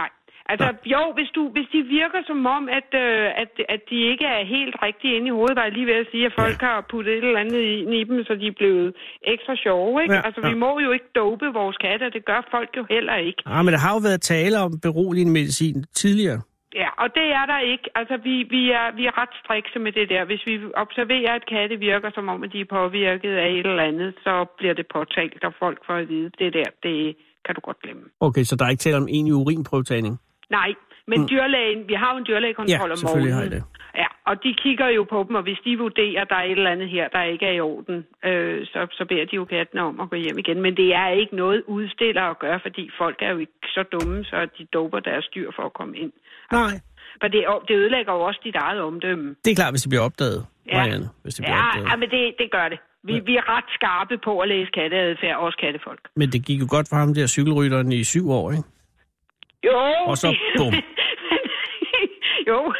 Nej. Altså, nej. jo, hvis, du, hvis de virker som om, at, øh, at, at de ikke er helt rigtige inde i hovedet, var jeg lige ved at sige, at folk ja. har puttet et eller andet ind i dem, så de er blevet ekstra sjove, ikke?
Ja,
Ja. Altså, vi
ja.
må jo ikke dope vores katte, og det gør folk jo heller ikke.
Ah, men der har jo været tale om beroligende medicin tidligere.
Ja, og det er der ikke. Altså, vi, vi, er, vi er ret strikse med det der. Hvis vi observerer, at katte virker, som om at de er påvirket af et eller andet, så bliver det påtalt, og folk får at vide, det der, det kan du godt glemme.
Okay, så der er ikke tale om egentlig urinprøvetagning.
Nej, men mm. dyrlægen, vi har jo en dyrlægekontrol
Ja,
om
selvfølgelig har I
morgenen. Ja, og de kigger jo på dem, og hvis de vurderer, at der er et eller andet her, der ikke er i orden, øh, så, så beder de jo kattene om at gå hjem igen. Men det er ikke noget udstiller at gøre, fordi folk er jo ikke så dumme, så de doper deres dyr for at komme ind.
Nej.
For det, det ødelægger jo også dit eget omdømme.
Det er klart, hvis det bliver opdaget,
Ja.
Marianne. Hvis det bliver
Ja,
opdaget.
ja men det, det gør det. Vi, ja. vi er ret skarpe på at læse katteadfærd, også kattefolk.
Men det gik jo godt for ham der cykelrytteren i syv år, ikke?
Jo,
Og så
det-
bum.
jo,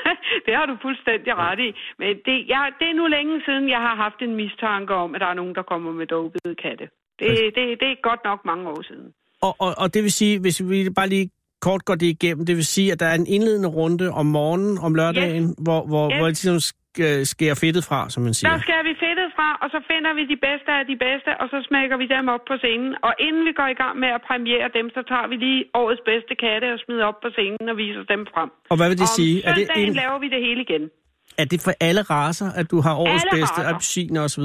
det har du fuldstændig ret i. Men det, jeg, det er nu længe siden, jeg har haft en mistanke om, at der er nogen, der kommer med dopede katte. Det, det, det er godt nok mange år siden.
Og, og, og det vil sige, hvis vi bare lige kort går det igennem. Det vil sige, at der er en indledende runde om morgenen, om lørdagen, yes. hvor, hvor, yes.
Yes.
hvor I ligesom sk- øh, skærer fedtet fra, som man siger.
Der skærer vi fedtet fra, og så finder vi de bedste af de bedste, og så smækker vi dem op på scenen. Og inden vi går i gang med at premiere dem, så tager vi lige årets bedste katte og smider op på scenen og viser dem frem.
Og hvad vil det
Om
sige? Er det,
søndagen
en,
laver vi det hele igen.
er det for alle raser, at du har årets
Alle
bedste
racer.
appelsiner osv.?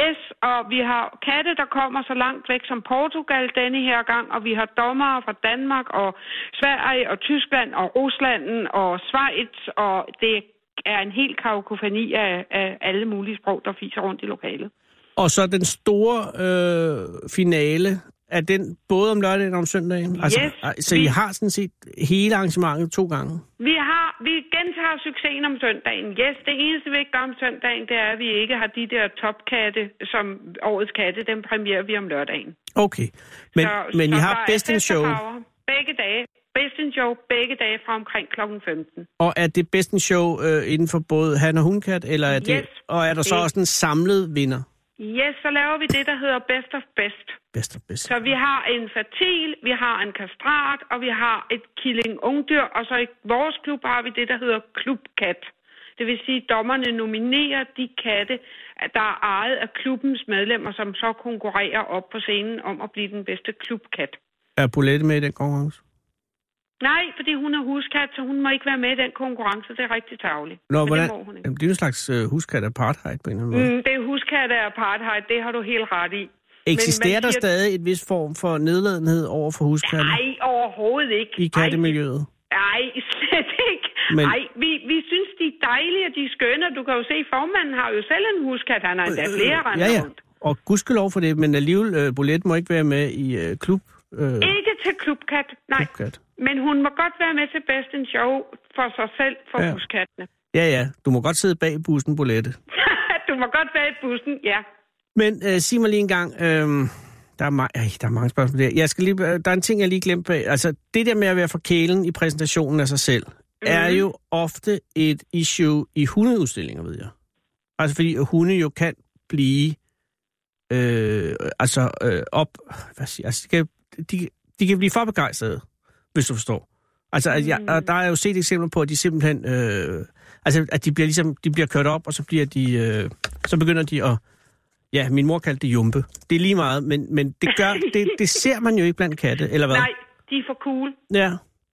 Yes, og vi har katte, der kommer så langt væk som Portugal denne her gang, og vi har dommere fra Danmark og Sverige og Tyskland og Rusland og Schweiz, og det er en hel kakofoni af, af alle mulige sprog, der fiser rundt i lokalet.
Og så den store øh, finale, er den både om lørdagen og om søndagen? Altså,
Yes.
ej, så I har sådan set hele arrangementet to gange?
Vi, har, vi gentager succesen om søndagen. Yes, det eneste vi ikke gør om søndagen, det er, at vi ikke har de der topkatte, som årets katte, dem premierer vi om lørdagen.
Okay. Men,
Så-
men
så
I
der
har
er
Best in
fest og
Show,
farver Begge dage. Best in Show begge dage fra omkring kl. 15.
og er det Best in Show øh, inden for både han og hunkat, eller er det,
Yes.
og er der så
Det-
også en samlet vinder?
Yes, så laver vi det, der hedder Best of Best.
Best of Best.
Så vi har en fertil, vi har en kastrat, og vi har et killing ungdyr, og så i vores klub har vi det, der hedder klubkat. Det vil sige, at dommerne nominerer de katte, der er ejet af klubbens medlemmer, som så konkurrerer op på scenen om at blive den bedste klubkat.
Er Bolette med i den konkurrence?
Nej, fordi hun er huskat, så hun må ikke være med i den konkurrence. Det er rigtig tageligt.
Nå,
Men
hvordan?
det må hun ikke.
Jamen, det er jo en slags øh, huskat apartheid på en eller anden måde.
Mm, det er huskat af apartheid, det har du helt ret i. Men
Eksisterer
man
der
siger-
stadig et vis form for nedladenhed over for huskatte
Nej, overhovedet ikke.
i kattemiljøet?
Nej, slet ikke.
Men-
Men... Ej, vi, vi synes, de er dejlige, og de er skønne. og Du kan jo se, formanden har jo selv en huskat. Han har endda flere øh,
Ja, ja. Og gudskelov for det, men alligevel, øh, Bolette må ikke være med i øh, klub, øh,
Ikke til klubkat, nej.
klubkat.
Men hun må godt være med til Best in Show for sig selv, for
Ja.
ja. huskattene.
Ja, ja, du må godt sidde bag bussen, Bolette.
du må godt være i bussen, ja.
Men øh, sig mig lige en gang, øh, der, er ma- ej, der er mange spørgsmål der. Jeg skal lige, øh, der er en ting, jeg lige glemte bag. Altså, det der med at være for kælen i præsentationen af sig selv, mm. er jo ofte et issue i hundeudstillinger, ved jeg. Altså, fordi hunde jo kan blive øh, altså øh, op... Hvad siger, jeg? altså, de, kan, de, de kan blive for begejstrede, hvis du forstår. Altså, at jeg, og der er jo set eksempler på, at de simpelthen... Øh, altså, at de bliver ligesom, de bliver kørt op, og så bliver de... Øh, så begynder de at... Ja, min mor kaldte det jumpe. Det er lige meget, men, men det, gør, det, det ser man jo ikke blandt katte, eller hvad?
Nej, de er for cool.
Ja,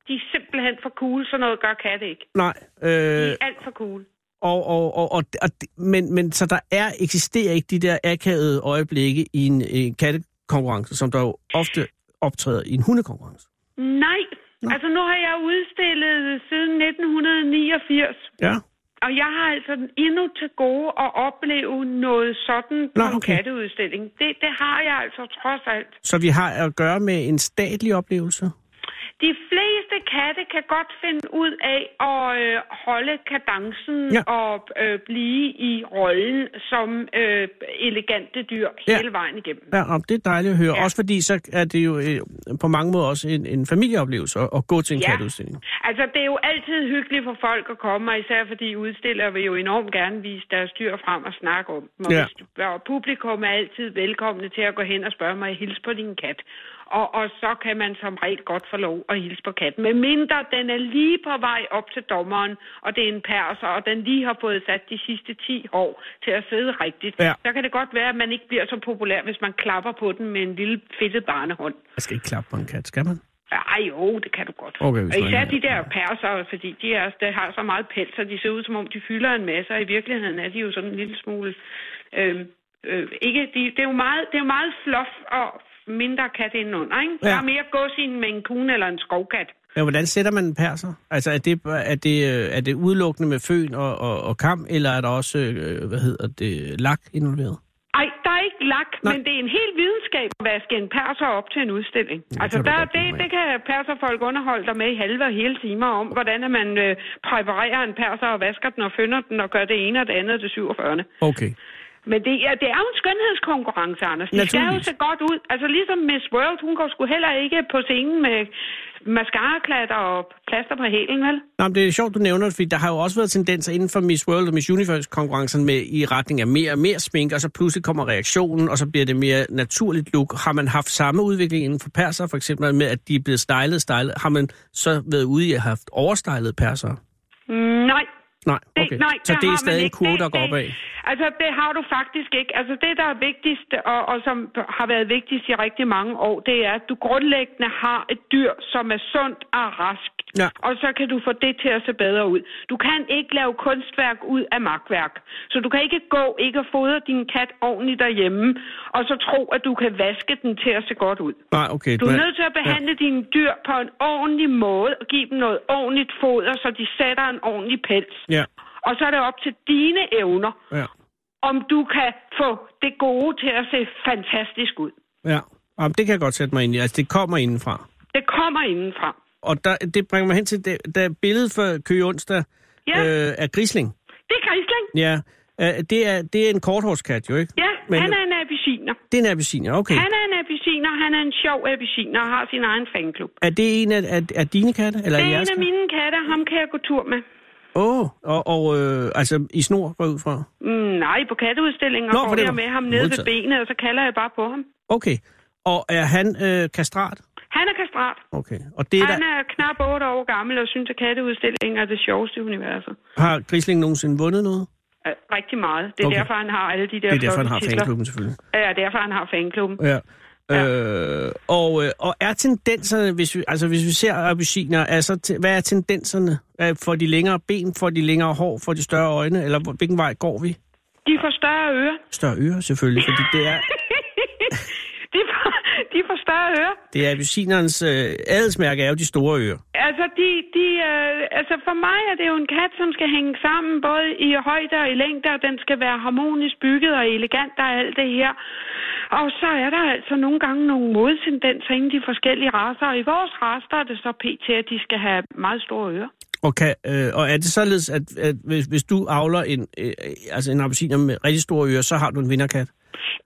De er simpelthen for cool. Sådan noget gør katte ikke.
nej.
De
Øh,
er alt for cool.
Og, og, og, og, og det- men, men så der er, eksisterer ikke de der akavede øjeblikke i en, en kattekonkurrence, som der jo ofte optræder i en hundekonkurrence.
Nej. Nå. Altså, nu har jeg udstillet siden 1989.
Ja.
Og jeg har altså endnu til gode at opleve noget sådan på
Nå,
en
okay.
katteudstilling. Det, det har jeg altså trods alt.
Så vi har at gøre med en statlig oplevelse.
De fleste katte kan godt finde ud af at øh, holde kadencen
Ja.
ja. og øh, blive i rollen som øh, elegante dyr
Ja.
ja. hele vejen igennem.
Ja, og det er dejligt at høre. Ja.
Ja.
Også fordi så er det jo øh, på mange måder også en, en familieoplevelse at, at gå til en ja.
Ja.
katteudstilling.
Altså, det er jo altid hyggeligt for folk at komme, og især fordi udstillere vil jo enormt gerne vise deres dyr frem og snakke om dem. Og,
Ja.
ja. og publikum er altid velkomne til at gå hen og spørge mig, hils på din kat. Og, og så kan man som regel godt få lov at hilse på katten, medmindre den er lige på vej op til dommeren, og det er en perser, og den lige har fået sat de sidste 10 år til at sidde rigtigt.
Ja.
Så kan det godt være, at man ikke bliver så populær, hvis man klapper på den med en lille fedtet barnehånd.
Jeg skal ikke klappe på en kat, skal man?
Ej, jo, det kan du godt.
Okay, hvis
og
man-
især de der perser, fordi de, er, de har så meget pels, og de ser ud, som om de fylder en masse, og i virkeligheden er de jo sådan en lille smule... Øh, øh, ikke, de, det, er jo meget, det er jo meget fluff og mindre kat indenunder, ikke?
Ja.
Ja. Der er mere gås i en med en kune eller en skovkat.
Ja, hvordan sætter man en perser? Altså, er det, er det, øh, er det udelukkende med føn og, og, og kam, eller er der også, øh, hvad hedder det, lak involveret?
Ej, der er ikke lak, Nej. men det er en hel videnskab at vaske en perser op til en udstilling.
det
Ja, altså,
kan du
der,
godt
det,
blive med.
det kan perserfolk underholde dig med i halve og hele timer om, hvordan at man øh, præparerer en perser og vasker den og fynder den og gør det ene og det andet og det 47.
Okay.
Men det er, det er jo en skønhedskonkurrence, Anders. De skal jo
Naturligvis.
se godt ud. Altså ligesom Miss World, hun går sgu heller ikke på scenen med mascaraklatter og plaster på hælen, vel?
Nå, men det er sjovt, du nævner det, fordi der har jo også været tendenser inden for Miss World og Miss Universe-konkurrencen med i retning af mere og mere smink, og så pludselig kommer reaktionen, og så bliver det mere naturligt look. Har man haft samme udvikling inden for perser, for eksempel med, at de er blevet stylet, stylet? Har man så været ude i at have haft overstylet perser?
Mm, Nej,
Nej,
det,
okay.
nej,
så
der
det
har
er
man
stadig en
ikke.
kvote,
Det-
der går
det-
opad?
Altså, det har du faktisk ikke. Altså, det, der er vigtigst, og, og som har været vigtigst i rigtig mange år, det er, at du grundlæggende har et dyr, som er sundt og rask.
Ja.
Og så kan du få det til at se bedre ud. Du kan ikke lave kunstværk ud af magtværk. Så du kan ikke gå, ikke at fodre din kat ordentligt derhjemme, og så tro, at du kan vaske den til at se godt ud.
Nej, okay.
Du er
men-
nødt til at behandle ja. dine dyr på en ordentlig måde og give dem noget ordentligt foder, så de sætter en ordentlig pels.
Ja,
Og så er det op til dine evner,
ja,
om du kan få det gode til at se fantastisk ud.
ja. Jamen, det kan jeg godt sætte mig ind i. Altså, det kommer indenfra.
Det kommer indenfra.
Og der, det bringer mig hen til det, der billede for Køge Onsdag
Ja.
øh, af Grisling.
Det er Grisling.
Ja, øh, det, er, det er en korthårskat jo, ikke?
Ja,
Men- Hmm.
Men... han er en appelsiner.
Det er en appelsiner, okay.
Han er en appelsiner, han er en sjov appelsiner og har sin egen fanklub.
Er det en af, af, af dine katte? Eller
Det er
jeres
en af
katte?
mine katte, ham kan jeg gå tur med.
Åh, oh, og, og øh, altså i snor går jeg ud fra.
Mm, nej, på katteudstillinger
Nå,
Nå,
for
går
det
jeg
var-
med ham nede ved
modtaget.
benet, og så kalder jeg bare på ham.
Okay. Og er han øh, kastrat?
Han er kastrat.
Okay. Og det er
Han
der,
er knap 8 år gammel og synes, at katteudstillinger er det sjoveste i universet.
har Grisling nogensinde vundet noget?
Øh, Rigtig meget. Det er
Okay.
okay. derfor, han har alle de der
Det er derfor, han
flotte
har
titler.
fanklubben selvfølgelig.
Ja, derfor han har fanklubben.
Ja. Øh, og, øh, og er tendenserne, hvis vi, altså hvis vi ser appelsiner, altså, te- hvad er tendenserne? Er- Får de længere ben, får de længere hår, får de større øjne, eller hvor- hvilken vej går vi?
De får større ører.
Større ører selvfølgelig, fordi det er,
de, får, de får større ører.
det er appelsinernes øh, adelsmærke er jo de store ører.
Altså, de, de, øh, altså, for mig er det jo en kat, som skal hænge sammen, både i højde og i længde, og den skal være harmonisk bygget og elegant og alt det her. Og så er der altså nogle gange nogle modtendenser inden de forskellige raser, og i vores race, der er det så pt, at de skal have meget store ører.
Og, kan, øh, og er det således, at, at hvis, hvis du avler en, øh, altså en appelsiner med rigtig store ører, så har du en vinderkat?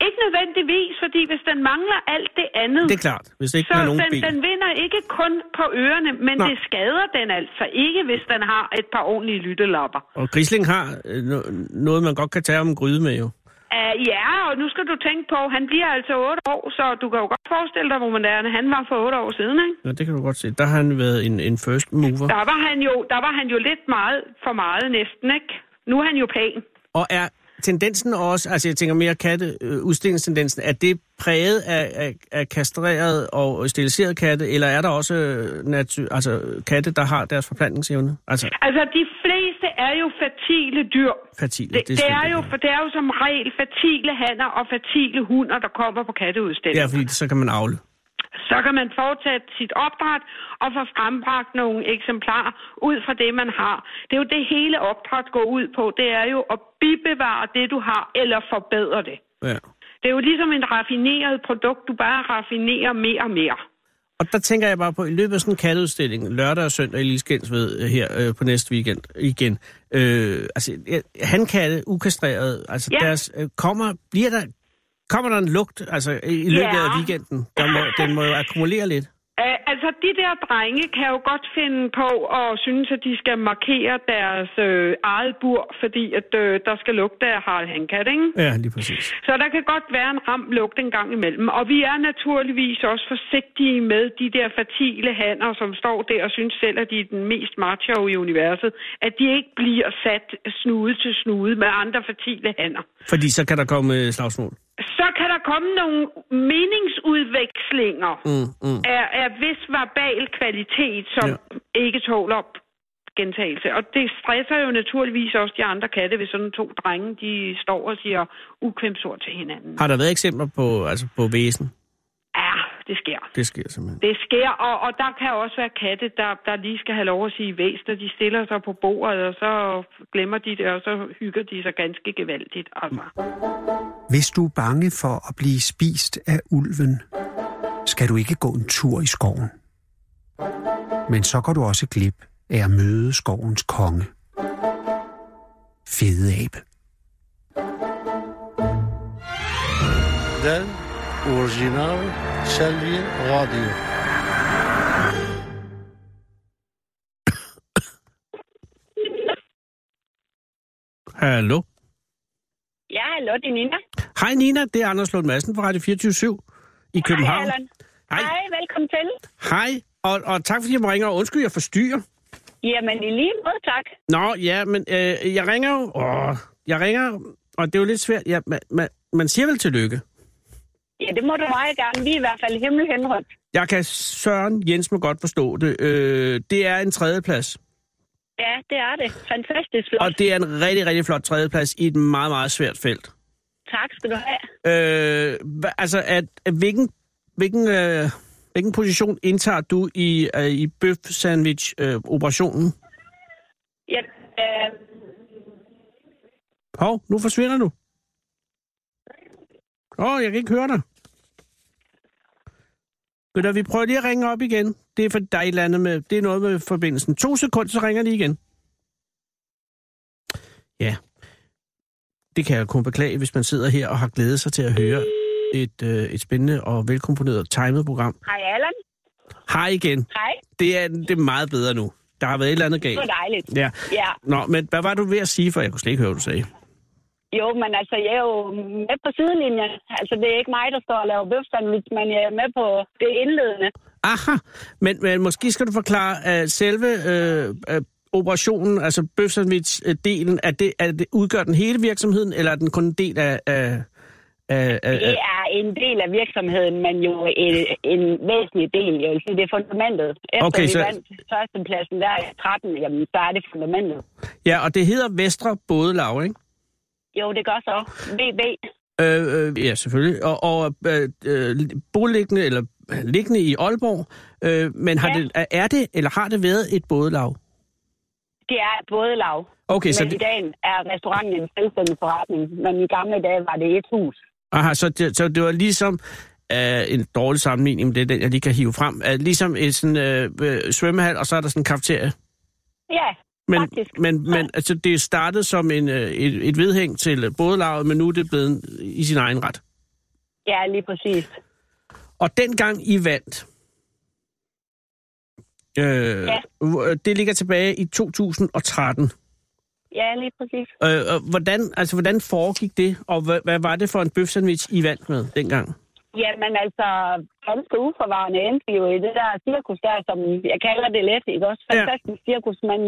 Ikke nødvendigvis, fordi hvis den mangler alt det andet...
Det er klart, hvis det ikke
Så
har nogen
den,
ben.
den vinder ikke kun på ørerne, men
Nej.
Nej. det skader den altså ikke, hvis den har et par ordentlige lyttelapper.
Og Grisling har øh, no- noget, man godt kan tage om en gryde med jo.
Uh, ja, og nu skal du tænke på, han bliver altså 8 år, så du kan jo godt forestille dig, hvor moderne han var for 8 år siden, ikke?
Ja, det kan du godt se. Der har han været en, en first mover.
Der var han jo, der var han jo lidt meget for meget næsten, ikke? Nu er han jo pæn.
Og er tendensen også, altså jeg tænker mere katte, øh, udstillingstendensen, er det præget af, af, af kastreret og steriliseret katte, eller er der også øh, natu- altså, katte, der har deres forplantningsevne? Altså
Altså, de fleste er jo fertile dyr.
fertile.
Det, det, er
selvfølgelig
jo, for det er jo som regel fertile hanner og fertile hunder, der kommer på katteudstillinger.
Ja, fordi så kan man avle.
Så kan man fortsætte sit opdræt og få frembragt nogle eksemplarer ud fra det, man har. Det er jo det hele opdræt går ud på. Det er jo at bibevare det, du har, eller forbedre det.
Ja.
Det er jo ligesom en raffineret produkt, du bare raffinerer mere og mere.
Og der tænker jeg bare på, i løbet af sådan en katteudstilling, lørdag og søndag i Lilleskensved øh, her øh, på næste weekend igen, øh, altså øh, hankatte, ukastrerede, altså ja.
Ja.
deres, øh, kommer, bliver der, kommer der en lugt, altså i- i løbet
Ja.
af weekenden? Der må, den må jo akkumulere lidt.
Øh, altså, de der drenge kan jo godt finde på at synes, at de skal markere deres øh, eget bur, fordi at, øh, der skal lugte af Harald Hankat, ikke?
Ja, lige præcis.
Så der kan godt være en ram lugt en gang imellem. Og vi er naturligvis også forsigtige med de der fertile hanner, som står der og synes selv, at de er den mest macho i universet, at de ikke bliver sat snude til snude med andre fertile hanner.
Fordi så kan der komme øh, slagsmål.
Så kan der komme nogle meningsudvekslinger
Mm, mm.
af, af vis verbal kvalitet, som
Ja.
ja. ikke tåler op gentagelse. Og det stresser jo naturligvis også de andre katte, hvis sådan to drenge, de står og siger ukvemsord til hinanden.
Har der været eksempler på, altså på væsen?
Ja, det sker.
Det sker simpelthen.
Det sker, og, og der kan også være katte, der, der lige skal have lov at sige væs, når de stiller sig på bordet, og så glemmer de det, og så hygger de sig ganske gevaldigt. Altså.
Hvis du er bange for at blive spist af ulven, skal du ikke gå en tur i skoven. Men så går du også glip af at møde skovens konge. Fede abe.
Den original Salvi Radio.
Hallo?
Ja, hallo, det er Nina.
Hej Nina, det er Anders Lund Madsen fra Radio 24 i København.
Hej, Allan. Hej, velkommen til.
Hej, og, og tak fordi jeg må ringe, og undskyld, jeg forstyrrer.
Jamen, i lige måde, tak.
Nå, ja, men øh, jeg ringer jo, åh, jeg ringer, og det er jo lidt svært. Ja, man, man, man siger vel tillykke?
Ja, det må du meget gerne. Vi er i hvert fald himmelhenrødt.
Jeg kan Søren Jens må godt forstå det. Øh, det er en tredjeplads.
Ja, det er det. Fantastisk flot.
Og det er en rigtig, rigtig flot tredjeplads i et meget, meget svært felt.
Tak skal du
Øh,
have.
hva- altså, at, at hvilken, hvilken, øh, hvilken position indtager du i, øh, i bøf sandwich øh, operationen
Ja, øh,
Hov, nu forsvinder du. Åh, oh, jeg kan ikke høre dig. Ved du, vi prøver lige at ringe op igen. Det er for dig et eller andet med, det er noget med forbindelsen. To sekunder, så ringer de igen. Ja. Det kan jeg kun beklage, hvis man sidder her og har glædet sig til at høre et, øh, et spændende og velkomponeret og timet program.
hej Allan.
Hej igen.
Hej.
Det er, det er meget bedre nu. Der har været et eller andet
Det
galt.
var dejligt.
Ja.
Ja,
Nå, men hvad var du ved at sige, for jeg kunne slet ikke høre, hvad du sagde?
jo, men altså, jeg er jo med på sidelinjen. Altså, det er ikke mig, der står og laver bøfsandwich, men jeg er med på det indledende.
Aha, men, men måske skal du forklare uh, selve uh, uh, operationen, altså bøfsandwich-delen, er det, er det, udgør den hele virksomheden, eller er den kun en del af... af, af,
Det
af
er en del af virksomheden, men jo en, en væsentlig del. Jeg vil sige, det er fundamentet. Efter
Okay,
vi
så-
vandt førstepladsen der i 13, jamen, så er det fundamentet.
ja, og det hedder Vestre Bådelav, ikke?
Jo, det gør så. VB.
Øh, øh, ja, selvfølgelig. Og, og øh, øh, boliggende, eller øh, liggende i Aalborg, øh, men har
Ja.
det, er det, eller har det været et bådelav?
Det er et bådelav.
Okay, så
Men i
det,
dag er restauranten en selvstændig forretning, men i gamle dage var det et hus.
aha, så det, så det var ligesom øh, en dårlig sammenligning, men det er den, jeg lige kan hive frem. Øh, ligesom en sådan, øh, øh, svømmehal, og så er der sådan en kafeterie.
Ja,
Men,
faktisk.
men, men altså, det startede som en, øh, et, et vedhæng til øh, bådelaget, men nu er det blevet en, i sin egen ret.
Ja, lige præcis.
Og dengang I vandt, øh,
Ja.
ja. det ligger tilbage i 2013.
Ja, lige præcis.
Øh, og hvordan, altså, hvordan foregik det, og hvad, hvad var det for en bøfsandwich, I vandt med dengang?
Jamen altså, ganske uforvarende endte vi jo i det der cirkus der, som jeg kalder det let, ikke også?
Ja.
Fantastisk cirkus, men,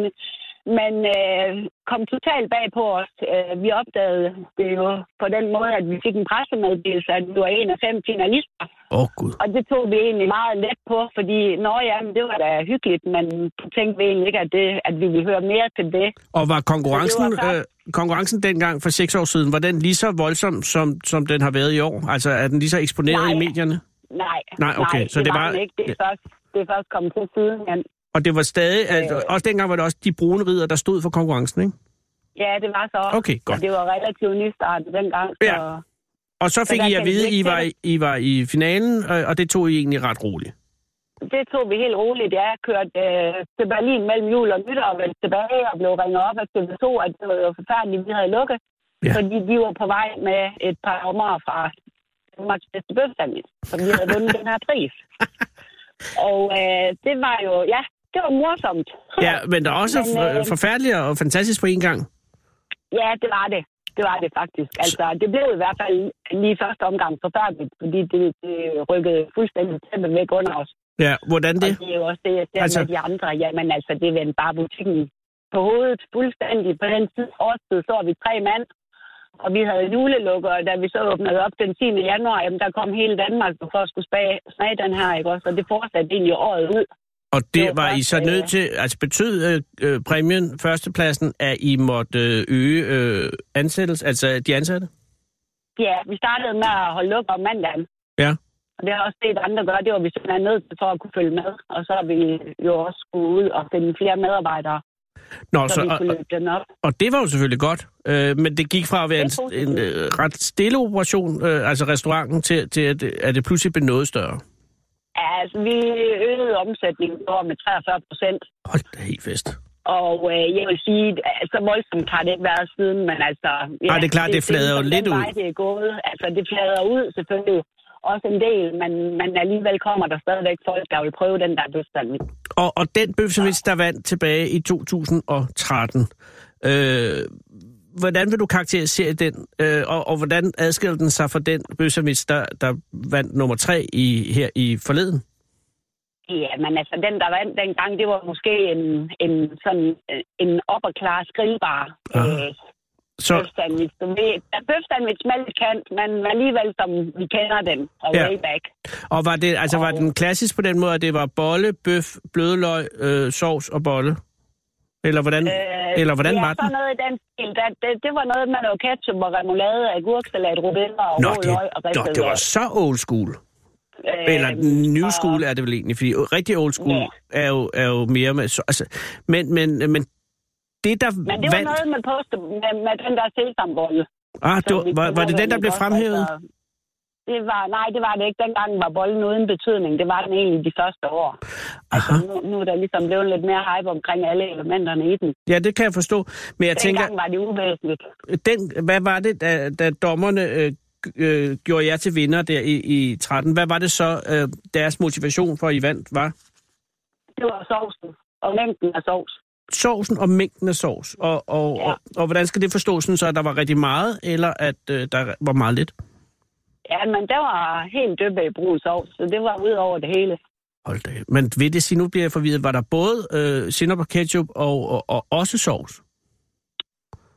men øh, kom totalt bag på os. Øh, vi opdagede det jo på den måde, at vi fik en pressemeddelelse, at vi var en af fem finalister.
Åh, oh, Gud.
Og det tog vi egentlig meget let på, fordi, nå ja, men det var da hyggeligt, men tænkte vi egentlig ikke, at, det, at vi ville høre mere til det.
Og var
Men
konkurrencen,
det var
øh, konkurrencen dengang for seks år siden, var den lige så voldsom, som, som den har været i år? Altså, er den lige så eksponeret
Nej.
i medierne?
Nej,
Nej, okay,
nej
så
det,
det
var
var-
den ikke. Det er, først, det er først kommet til siden, men
Og det var stadig,
Øh.
altså, også dengang var det også de brune ridder, der stod for konkurrencen, ikke?
ja, det var så.
Okay, godt.
Og det var relativt nystartet dengang, så...
Ja. Og så fik
der
I at
kan vi
vide,
ikke
I var,
sætte-
I var i finalen, øh, og og det tog I egentlig ret roligt.
det tog vi helt roligt. Jeg kørte øh, til Berlin mellem jul og nytår og vendte tilbage og blev ringet op af TV2, at det var jo forfærdeligt, vi havde lukket.
Ja.
Ja. Fordi de var på vej med et par ommer fra Danmarks bedste bøfsandwich, som vi havde vundet den her pris. Og øh, det var jo, ja, det var morsomt.
Ja, men der er også
Men,
men,
øh,
forfærdeligt og fantastisk på en gang.
ja, det var det. Det var det faktisk. Altså, det blev i hvert fald lige i første omgang forfærdeligt, fordi det, det rykkede fuldstændig tæppet væk under os.
Ja, hvordan det?
Og det er jo også det, jeg ser
Altså-
altså... med de andre. Jamen altså, det vendte bare butikken på hovedet fuldstændig. På den tid, årstid, så var vi tre mand, og vi havde julelukker, og da vi så åbnede op den 10. januar, jamen, der kom hele Danmark for at skulle smage, smage den her, ikke også? Og det fortsatte egentlig året ud.
Og
det
det
var
var I
godt,
så
øh,
nødt til, altså betød øh, øh, præmien, førstepladsen, at I måtte øh, øge øh, ansættelse, altså de ansatte?
Ja, vi startede med at holde lukket om mandagen.
Ja.
Og det har jeg også set andre gøre, det var vi simpelthen nødt til for at kunne følge med. Og så har vi jo også skulle ud og finde flere medarbejdere,
Nå,
så, så
så,
vi
og,
kunne løbe den op.
og det var jo selvfølgelig godt, øh, men det gik fra at være
Det er
en, en
positivt.
øh, ret stille operation, øh, altså restauranten, til, til at, at det pludselig blev noget større.
Ja, altså, vi øgede omsætningen i år med 43 procent.
Hold da helt fest.
Og øh, jeg vil sige, at så voldsomt har det ikke været siden, men altså...
Ej, Ah, det er klart, det flader jo
den
lidt ud.
Vej, det er gået. Altså, det flader ud selvfølgelig også en del, men, men alligevel kommer der stadigvæk folk, der vil prøve den der bøfstand.
Og, og den bøfsevits, der vandt tilbage i 2013, øh, hvordan vil du karakterisere den, øh, og, og hvordan adskiller den sig fra den bøssermits, der, der vandt nummer tre i, her i forleden?
Ja, men altså den, der vandt dengang, det var måske en, en sådan øh, en upperclass grillbar.
Ah.
Øh,
Så,
Bøfsandwich. Du ved, der er bøfsandwich med lidt kant, men alligevel som vi kender den fra
Ja.
ja. way back.
og var, det, altså, var den klassisk på den måde, at det var bolle, bøf, blødløg, øh, sovs og bolle? Eller hvordan, øh, eller hvordan
ja,
var den?
sådan noget i den stil. Der, det, det, var noget med noget ketchup og remoulade, agurksalat, rubiner og
Nå,
rå
det,
løg og
nå,
ristet
det var
løg.
så old school.
Øh,
Eller new
og-
school er det vel egentlig, fordi rigtig old school
Ja.
er, jo, er jo mere med... Så, altså, men, men, men det, der
Men det var
vandt...
noget med, poste, med, med den der sesambolle.
ah, det
som
var,
vi
var, var det
kender
den, der
den,
blev
ikke også?
fremhævet?
Altså, Det var, nej, det var det ikke. Dengang var bolden uden betydning. Det var den egentlig de første år. Altså,
Aha.
nu, nu er der ligesom blevet lidt mere hype omkring alle elementerne i den.
Ja, det kan jeg forstå. Men jeg
Jeg
tænker,
tænker, Dengang var det uvæsentligt.
den, hvad var det, da, da dommerne øh, g- øh, gjorde jer til vinder der i, i 13? Hvad var det så, øh, deres motivation for, at I vandt, var?
Det var sovsen. Og mængden af sovs.
Sovsen og mængden af sovs. Og, og, ja.
Ja.
og, og hvordan skal det forstås, sådan, så at der var rigtig meget, eller at øh, der var meget lidt?
Ja, men der var helt døbe i brun sovs, så det var ud over det hele.
Hold da. kæft. Men ved det sige, nu bliver jeg forvirret, var der både øh, sinup og ketchup og, og, og også sovs?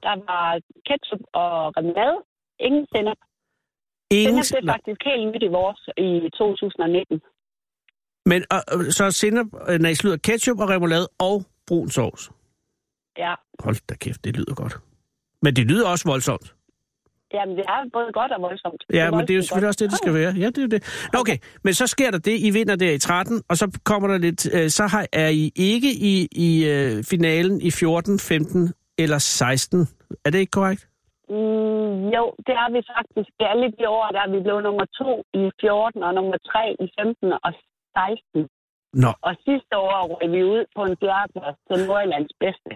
Der var ketchup og remoulade. Ingen sennep.
Ingen
Sennep, det er
nej.
faktisk helt nyt i vores i 2019.
Men og, og, så sinup, øh, nej, slutter ketchup og remoulade og brun sovs.
Ja,
Hold da kæft, det lyder godt. Men det lyder også voldsomt.
Jamen, det er både godt og voldsomt.
Ja, men det er jo
voldsomt
selvfølgelig også det, det skal være. Ja, det er jo det. Nå, okay, men så sker der det, I vinder der i 13, og så kommer der lidt, øh, så har, er I ikke i, i øh, finalen i 14, 15 eller 16. Er det ikke korrekt?
Mm, jo, det er vi faktisk. Det er lidt i år, der er vi blevet nummer to i 14 og nummer tre i 15 og 16.
Nå,
Og sidste år røg vi ud på en fjerdeplads til Nordjyllands bedste.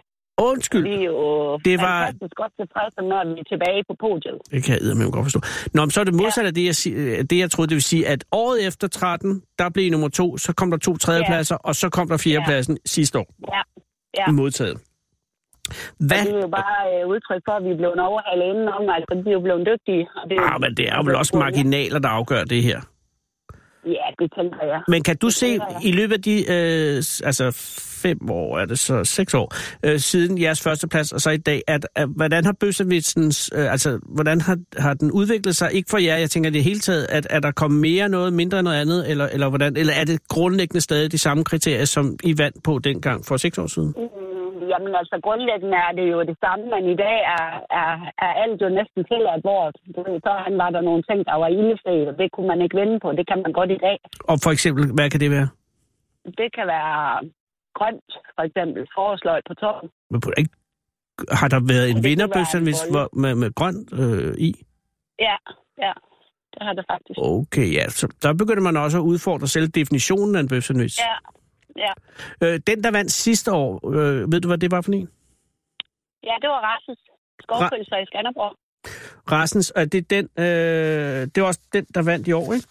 undskyld.
Vi er jo
Det var-
fantastisk godt tilfredse, når vi er tilbage på podiet.
Det kan jeg eddermame godt forstå. Nå, men så er det modsat af det jeg, si- øh, det, jeg troede. Det vil sige, at året efter 13, der blev I nummer to, så kom der to tredjepladser, og så kom der fjerdepladsen sidste år.
Ja, ja.
I modtaget.
Og
Hvad?
det er jo bare øh, udtryk for, at vi er blevet overhalet indenom. Altså, vi er jo blevet dygtige. Og det,
Ah, men det er jo vel også marginaler, der afgør det her.
Ja, det tænker jeg.
Men kan du se
tænker jeg.
i løbet af de øh, s- altså fem år, er det så seks år, øh, siden jeres førsteplads og så i dag, at, at hvordan har bøssevitsens, øh, altså hvordan har, har den udviklet sig? Ikke for jer, jeg tænker det hele taget, at er der kommet mere noget, mindre noget andet, eller, eller, hvordan, eller er det grundlæggende stadig de samme kriterier, som I vandt på dengang for seks år siden?
Mm, Jamen altså, grundlæggende er det jo det samme, men i dag er, er, er alt jo næsten til at bort. Du ved, Så han var der nogle ting, der var ildefri, og det kunne man ikke vinde på. Det kan man godt i dag.
Og for eksempel, hvad kan det være?
Det kan være grønt, for eksempel forårsløg på toppen.
Men på- ikke- Har der været en
Det kunne
vinderbøsse
være en
hvis,
bolle.
hvor- med, med grønt øh, i?
Ja, ja, det har det faktisk.
Okay, ja. Så der begynder man også at udfordre selv definitionen af en bøfsandwich.
Ja, ja.
Øh, den, der vandt sidste år, øh, ved du, hvad det var for en?
ja det var Rasses skovpølser i Skanderborg.
Rassens, og det er den, øh, det var også den, der vandt i år, ikke?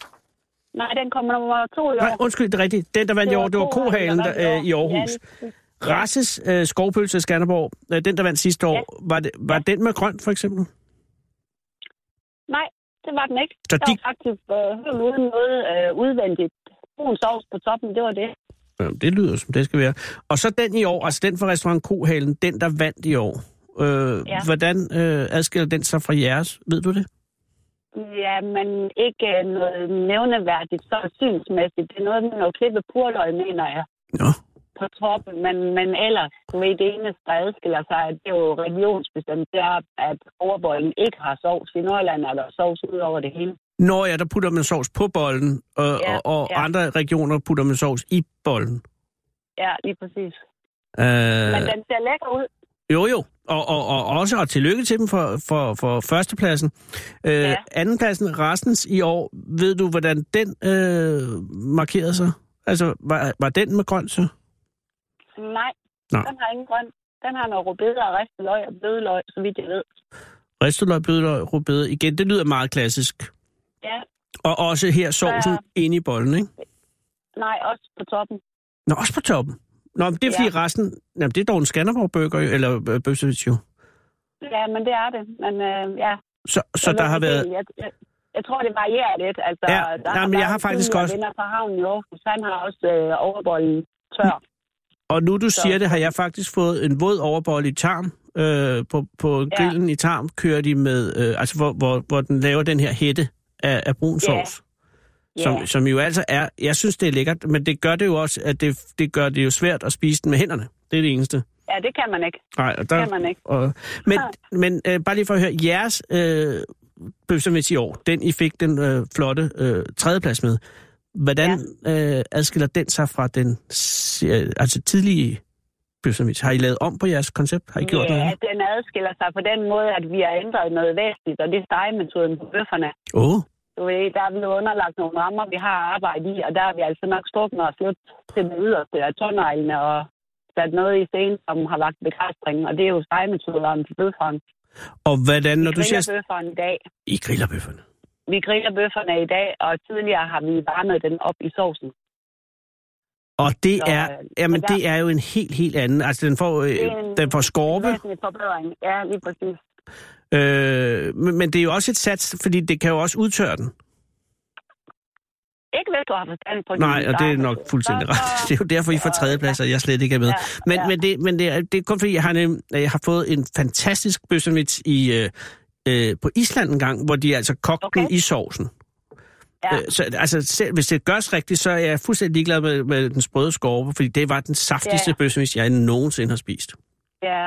Nej, den kommer nummer to i år.
Nej, undskyld, det er rigtigt. Den, der vandt i år, det var Kohalen der, øh, i Aarhus. Rasses øh, skovpølse i Skanderborg, øh, den, der vandt sidste år, var, det, var den med grønt, for eksempel?
Nej, det var den ikke.
Så
Så
de-
de... var faktisk øh, helt uden noget øh, udvendigt. Brun sovs på toppen, det var det.
Øh, det lyder, som det skal være. Og så den i år, altså den fra restaurant Kohalen, den, der vandt i år. Øh, ja.
Ja.
Hvordan øh, adskiller den sig fra jeres? Ved du det?
Ja, men ikke øh, noget nævneværdigt, så synsmæssigt. Det er noget med noget klippe purløg, mener jeg,
Nå.
på toppen. Men, men ellers, du ved, det eneste, der adskiller sig, det er jo religionsbestemt, det er, at overbollen ikke har sovs. I Nordjylland er der sovs ud over det hele.
Når ja, der putter man sovs på bollen, øh, ja,
Ja,
og, og ja.
ja.
andre regioner putter man sovs i bollen.
Ja, lige præcis.
Øh,
Men den ser lækker ud.
Jo, jo. Og, og, og også, og tillykke til dem for, for, for førstepladsen. Øh, ja.
Ja.
Andenpladsen, restens i år, ved du, hvordan den øh, markerede sig? Altså, var, var den med grøn så?
Nej,
Nå.
den har ingen grøn. Den har noget rødbeder og ristet løg og bløde løg, så vidt jeg ved.
Risteløg, blødløg, rubede. Igen, det lyder meget klassisk.
Ja,
Og også her sovsen ja.
Ja.
inde i bolden, ikke?
nej, også på toppen.
Nå, også på toppen. Nå, men det er fordi ja.
Ja.
resten... Jamen, det er dog en Skanderborg-burger, jo, eller øh, bøfsevits jo.
Ja, men det er det. Men øh, ja.
Så, så der har været...
Jeg, jeg, jeg tror, det varierer lidt. Altså,
Ja,
der
nej, men jeg
været
har faktisk
tidligere
også-
venner fra havnen i Aarhus, han har også øh, overbollen tør.
Og nu du
Så-
siger det, har jeg faktisk fået en våd overbolle i tarm. Øh, på, på
Ja.
grillen i tarm kører de med, øh, altså hvor, hvor, hvor den laver den her hætte af, af brun
Ja.
sovs. Som,
Ja.
som jo altså er, jeg synes det er lækkert, men det gør det jo også, at det, det gør det jo svært at spise den med hænderne. Det er det eneste.
ja, det kan man ikke.
Nej, og
Det
der,
kan man ikke.
og, men men øh, bare lige for at høre, jeres øh, bøfsemæs i år, den I fik den øh, flotte øh, tredjeplads med, hvordan ja. øh, adskiller den sig fra den se- altså tidlige bøfsemæs? Har I lavet om på jeres koncept? Har I gjort
ja,
noget?
øh, den adskiller sig på den måde, at vi har ændret noget væsentligt, og det er stegemetoden på bøfferne.
Åh, oh,
Du ved, der er blevet underlagt nogle rammer, vi har arbejdet i, og der har vi altså nok strukket os lidt til den yderste af tårneglene og sat noget i scenen, som har vagt begejstring, og det er jo stegemetoderne til bøfferen.
og hvordan, når
Vi
du
griller
siger...
bøfferen i dag.
I griller bøfferne.
Vi griller bøfferne i dag, og tidligere har vi varmet den op i sovsen.
Og det
Så,
er,
øh,
jamen,
og der-
det er jo en helt, helt anden... Altså, den får, øh,
Det er en-
den får
En
skorpe,
væsentlig forbedring. Ja, lige præcis.
øh, men, men det er jo også et sats, fordi det kan jo også udtørre den.
Ikke hvis du har forstand på
Nej,
din
og det er
stegemetode.
nok fuldstændig
Så-
ret. Det er jo derfor, I får
så-
tredjeplads, og jeg slet ikke er med.
Ja,
Men,
ja.
men, det, men det, er, det er kun fordi, jeg har, nem, jeg har fået en fantastisk bøssemits i, øh, øh, på Island en gang, hvor de altså kogte okay. den
Okay.
i sovsen.
Ja.
Øh, så, altså, selv, hvis det gørs rigtigt, så er jeg fuldstændig ligeglad med, med den sprøde skorpe, fordi det var den saftigste
Ja.
yeah. bøssemits, jeg nogensinde har spist.
Ja,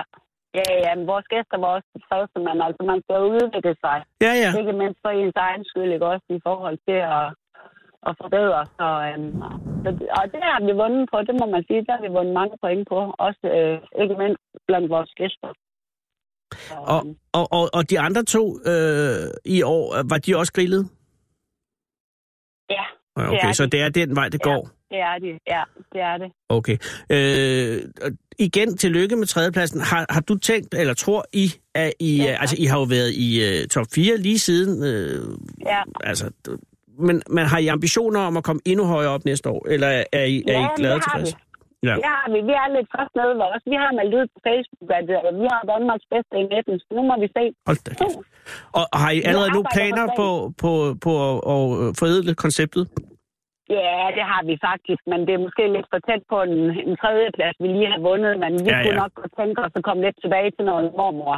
ja, ja. Men vores gæster var også tilfredse, men altså, man skal jo udvikle sig.
Ja, ja.
Ikke mindst for ens egen skyld, ikke også i forhold til at, at forbedre sig. øhm, Så, og det har vi vundet på, det må man sige. Der har vi vundet mange point på. Også øh, ikke mindst blandt vores gæster. Så,
Og,
øhm,
og, og, og de andre to øh, i år, øh, var de også grillet?
Ja,
Ja,
er
Okay, så
de.
det er den vej, det
Ja.
går.
det er det. Ja, det er det.
Okay. Øh, og igen, tillykke med tredjepladsen. Har, har du tænkt, eller tror I, at I,
Ja,
ja,
tak.
altså I har jo været i uh, top 4 lige siden, øh,
Ja.
altså, d- men, men har I ambitioner om at komme endnu højere op næste år, eller er, er I, er
Ja,
I glade
det har
tilfreds?
vi.
Ja.
Ja, vi, vi er lidt først nede ved os. Vi har meldt ud på Facebook, at øh, vi har Danmarks bedste i netten. Så nu må vi se.
Hold da kæft. Og og har I allerede nu
arbejder
planer
på
på, på, på at, at foredle konceptet?
Ja, det har vi faktisk, men det er måske lidt for tæt på en, en tredjeplads, vi lige har vundet, men vi
Ja, ja.
ja, ja. kunne nok godt tænke os at komme lidt tilbage til noget mormor,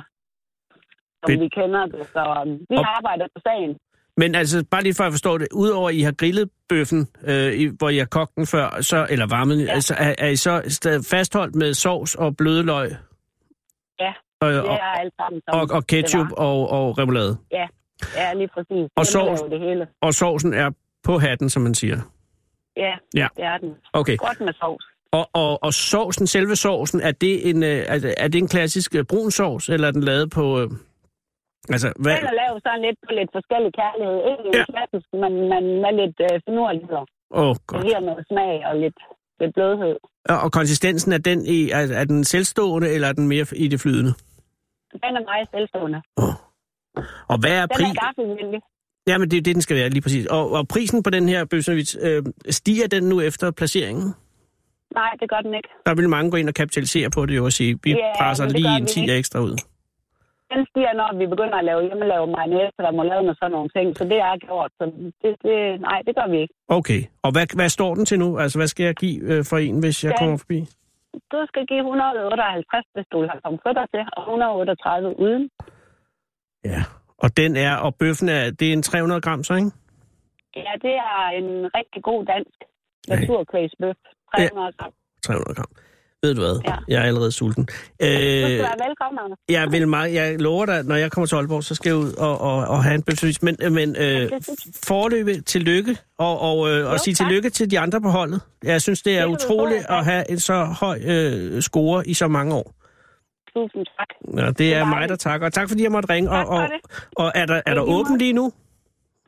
som
Det-
vi kender det, så um, vi
Og-
arbejder på sagen.
Men altså, bare lige for at forstå det, udover at I har grillet bøffen, øh, i- hvor I har kogt den før, så, eller varmet den, ja.
Ja.
altså, er, er I så stadig fastholdt med sovs og blødløg?
Ja.
Øh,
Det
og,
er alt sammen som
og, og ketchup
det var.
og, og remoulade.
Ja, lige præcis.
Og
Hjemmelavet
sovs.
Det hele.
Og sovsen er på hatten, som man siger.
Ja,
Ja.
ja, det er den.
Okay.
Godt med sovs.
Og, og, og sovsen, selve sovsen, er det en, øh, er, er det en klassisk øh, brun sovs, eller er den lavet på... Øh, altså, hvad?
Den er lavet sådan lidt på lidt forskellig kærlighed. Ikke
Ja.
ja. klassisk, men, men med lidt øh, finurligheder.
Åh, oh,
Det
godt.
giver noget smag og lidt, lidt blødhed.
Og, og konsistensen, er den, i, er, er den selvstående, eller er den mere i det flydende?
Den er meget selvstående.
Og hvad er
Den
prisen?
er gaffelvillig.
Ja, men det er det, den skal være, lige præcis. Og, og prisen på den her bøsnevits, øh, stiger den nu efter placeringen?
Nej, det gør den ikke.
Der vil mange gå ind og kapitalisere på det jo og sige, vi
Ja,
presser
men det gør
lige en
vi
10
ikke.
ekstra ud.
den stiger, når vi begynder at lave hjemmelavet mayonnaise, der må lave med sådan nogle ting. Så det er gjort. Så det, det, nej, det gør vi ikke.
Okay, og hvad, hvad står den til nu? Altså, hvad skal jeg give øh, for en, hvis jeg
Ja.
kommer forbi?
Du skal give 158, hvis du har pomfritter til, og 138 uden.
Ja. Og den er, og bøffen er, det er en 300 gram, så, ikke?
Ja, det er en rigtig god dansk
Nej.
naturkvægsbøf. 300 gram.
300 gram. Ved du hvad?
Ja.
Jeg er allerede sulten.
Du
Øh,
skal være velkommen, Anders.
jeg vil meget, jeg lover dig, når jeg kommer til Aalborg, så skal jeg ud og, og, og have en bøfsevis. Men, men øh, forløbe tillykke, og, og, øh, og
Jo,
sige
tak.
tillykke til de andre på holdet. Jeg synes, det er
Det kan du tro,
utroligt
ja.
at have en så høj øh, score i så mange år.
Tusind tak.
Ja, det er mig,
dejligt.
der takker. Og tak fordi jeg måtte ringe.
Tak
Og,
for
og, og er der, er der
lige
åben lige nu?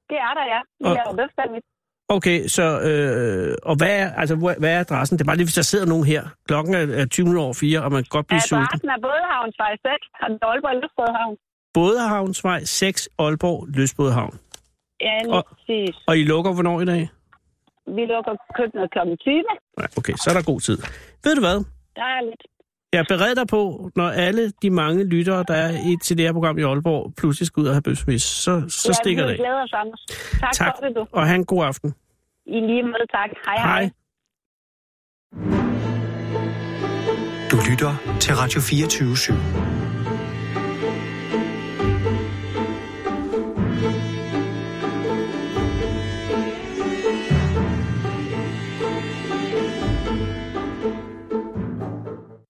Det er der, ja. Vi
Og-
laver bøfsandwich.
Okay, så øh, og hvad er, altså, hvor- hvad er adressen? Det er bare lige, hvis der sidder nogen her. Klokken er er 20 over 4, og man kan godt blive sulten.
Adressen er Bådehavnsvej 6 og den Aalborg Løsbådehavn.
Bådehavnsvej 6, Aalborg, Løsbådehavn.
Ja, lige
Og-
præcis.
Og I lukker hvornår i dag?
Vi lukker køkkenet kl. 20.
Nej, okay, så er der god tid. Ved du hvad?
Der er lidt.
Jeg bered dig på, når alle de mange lyttere, der er i, til det her program i Aalborg, pludselig skal ud og have bøssemist, så, så
ja,
stikker det
vi
af.
glæder os, Anders. Tak,
Tak,
for det, du.
og have en god aften.
I lige måde, tak. Hej, hej.
Hej.
Du lytter til Radio 24 /7.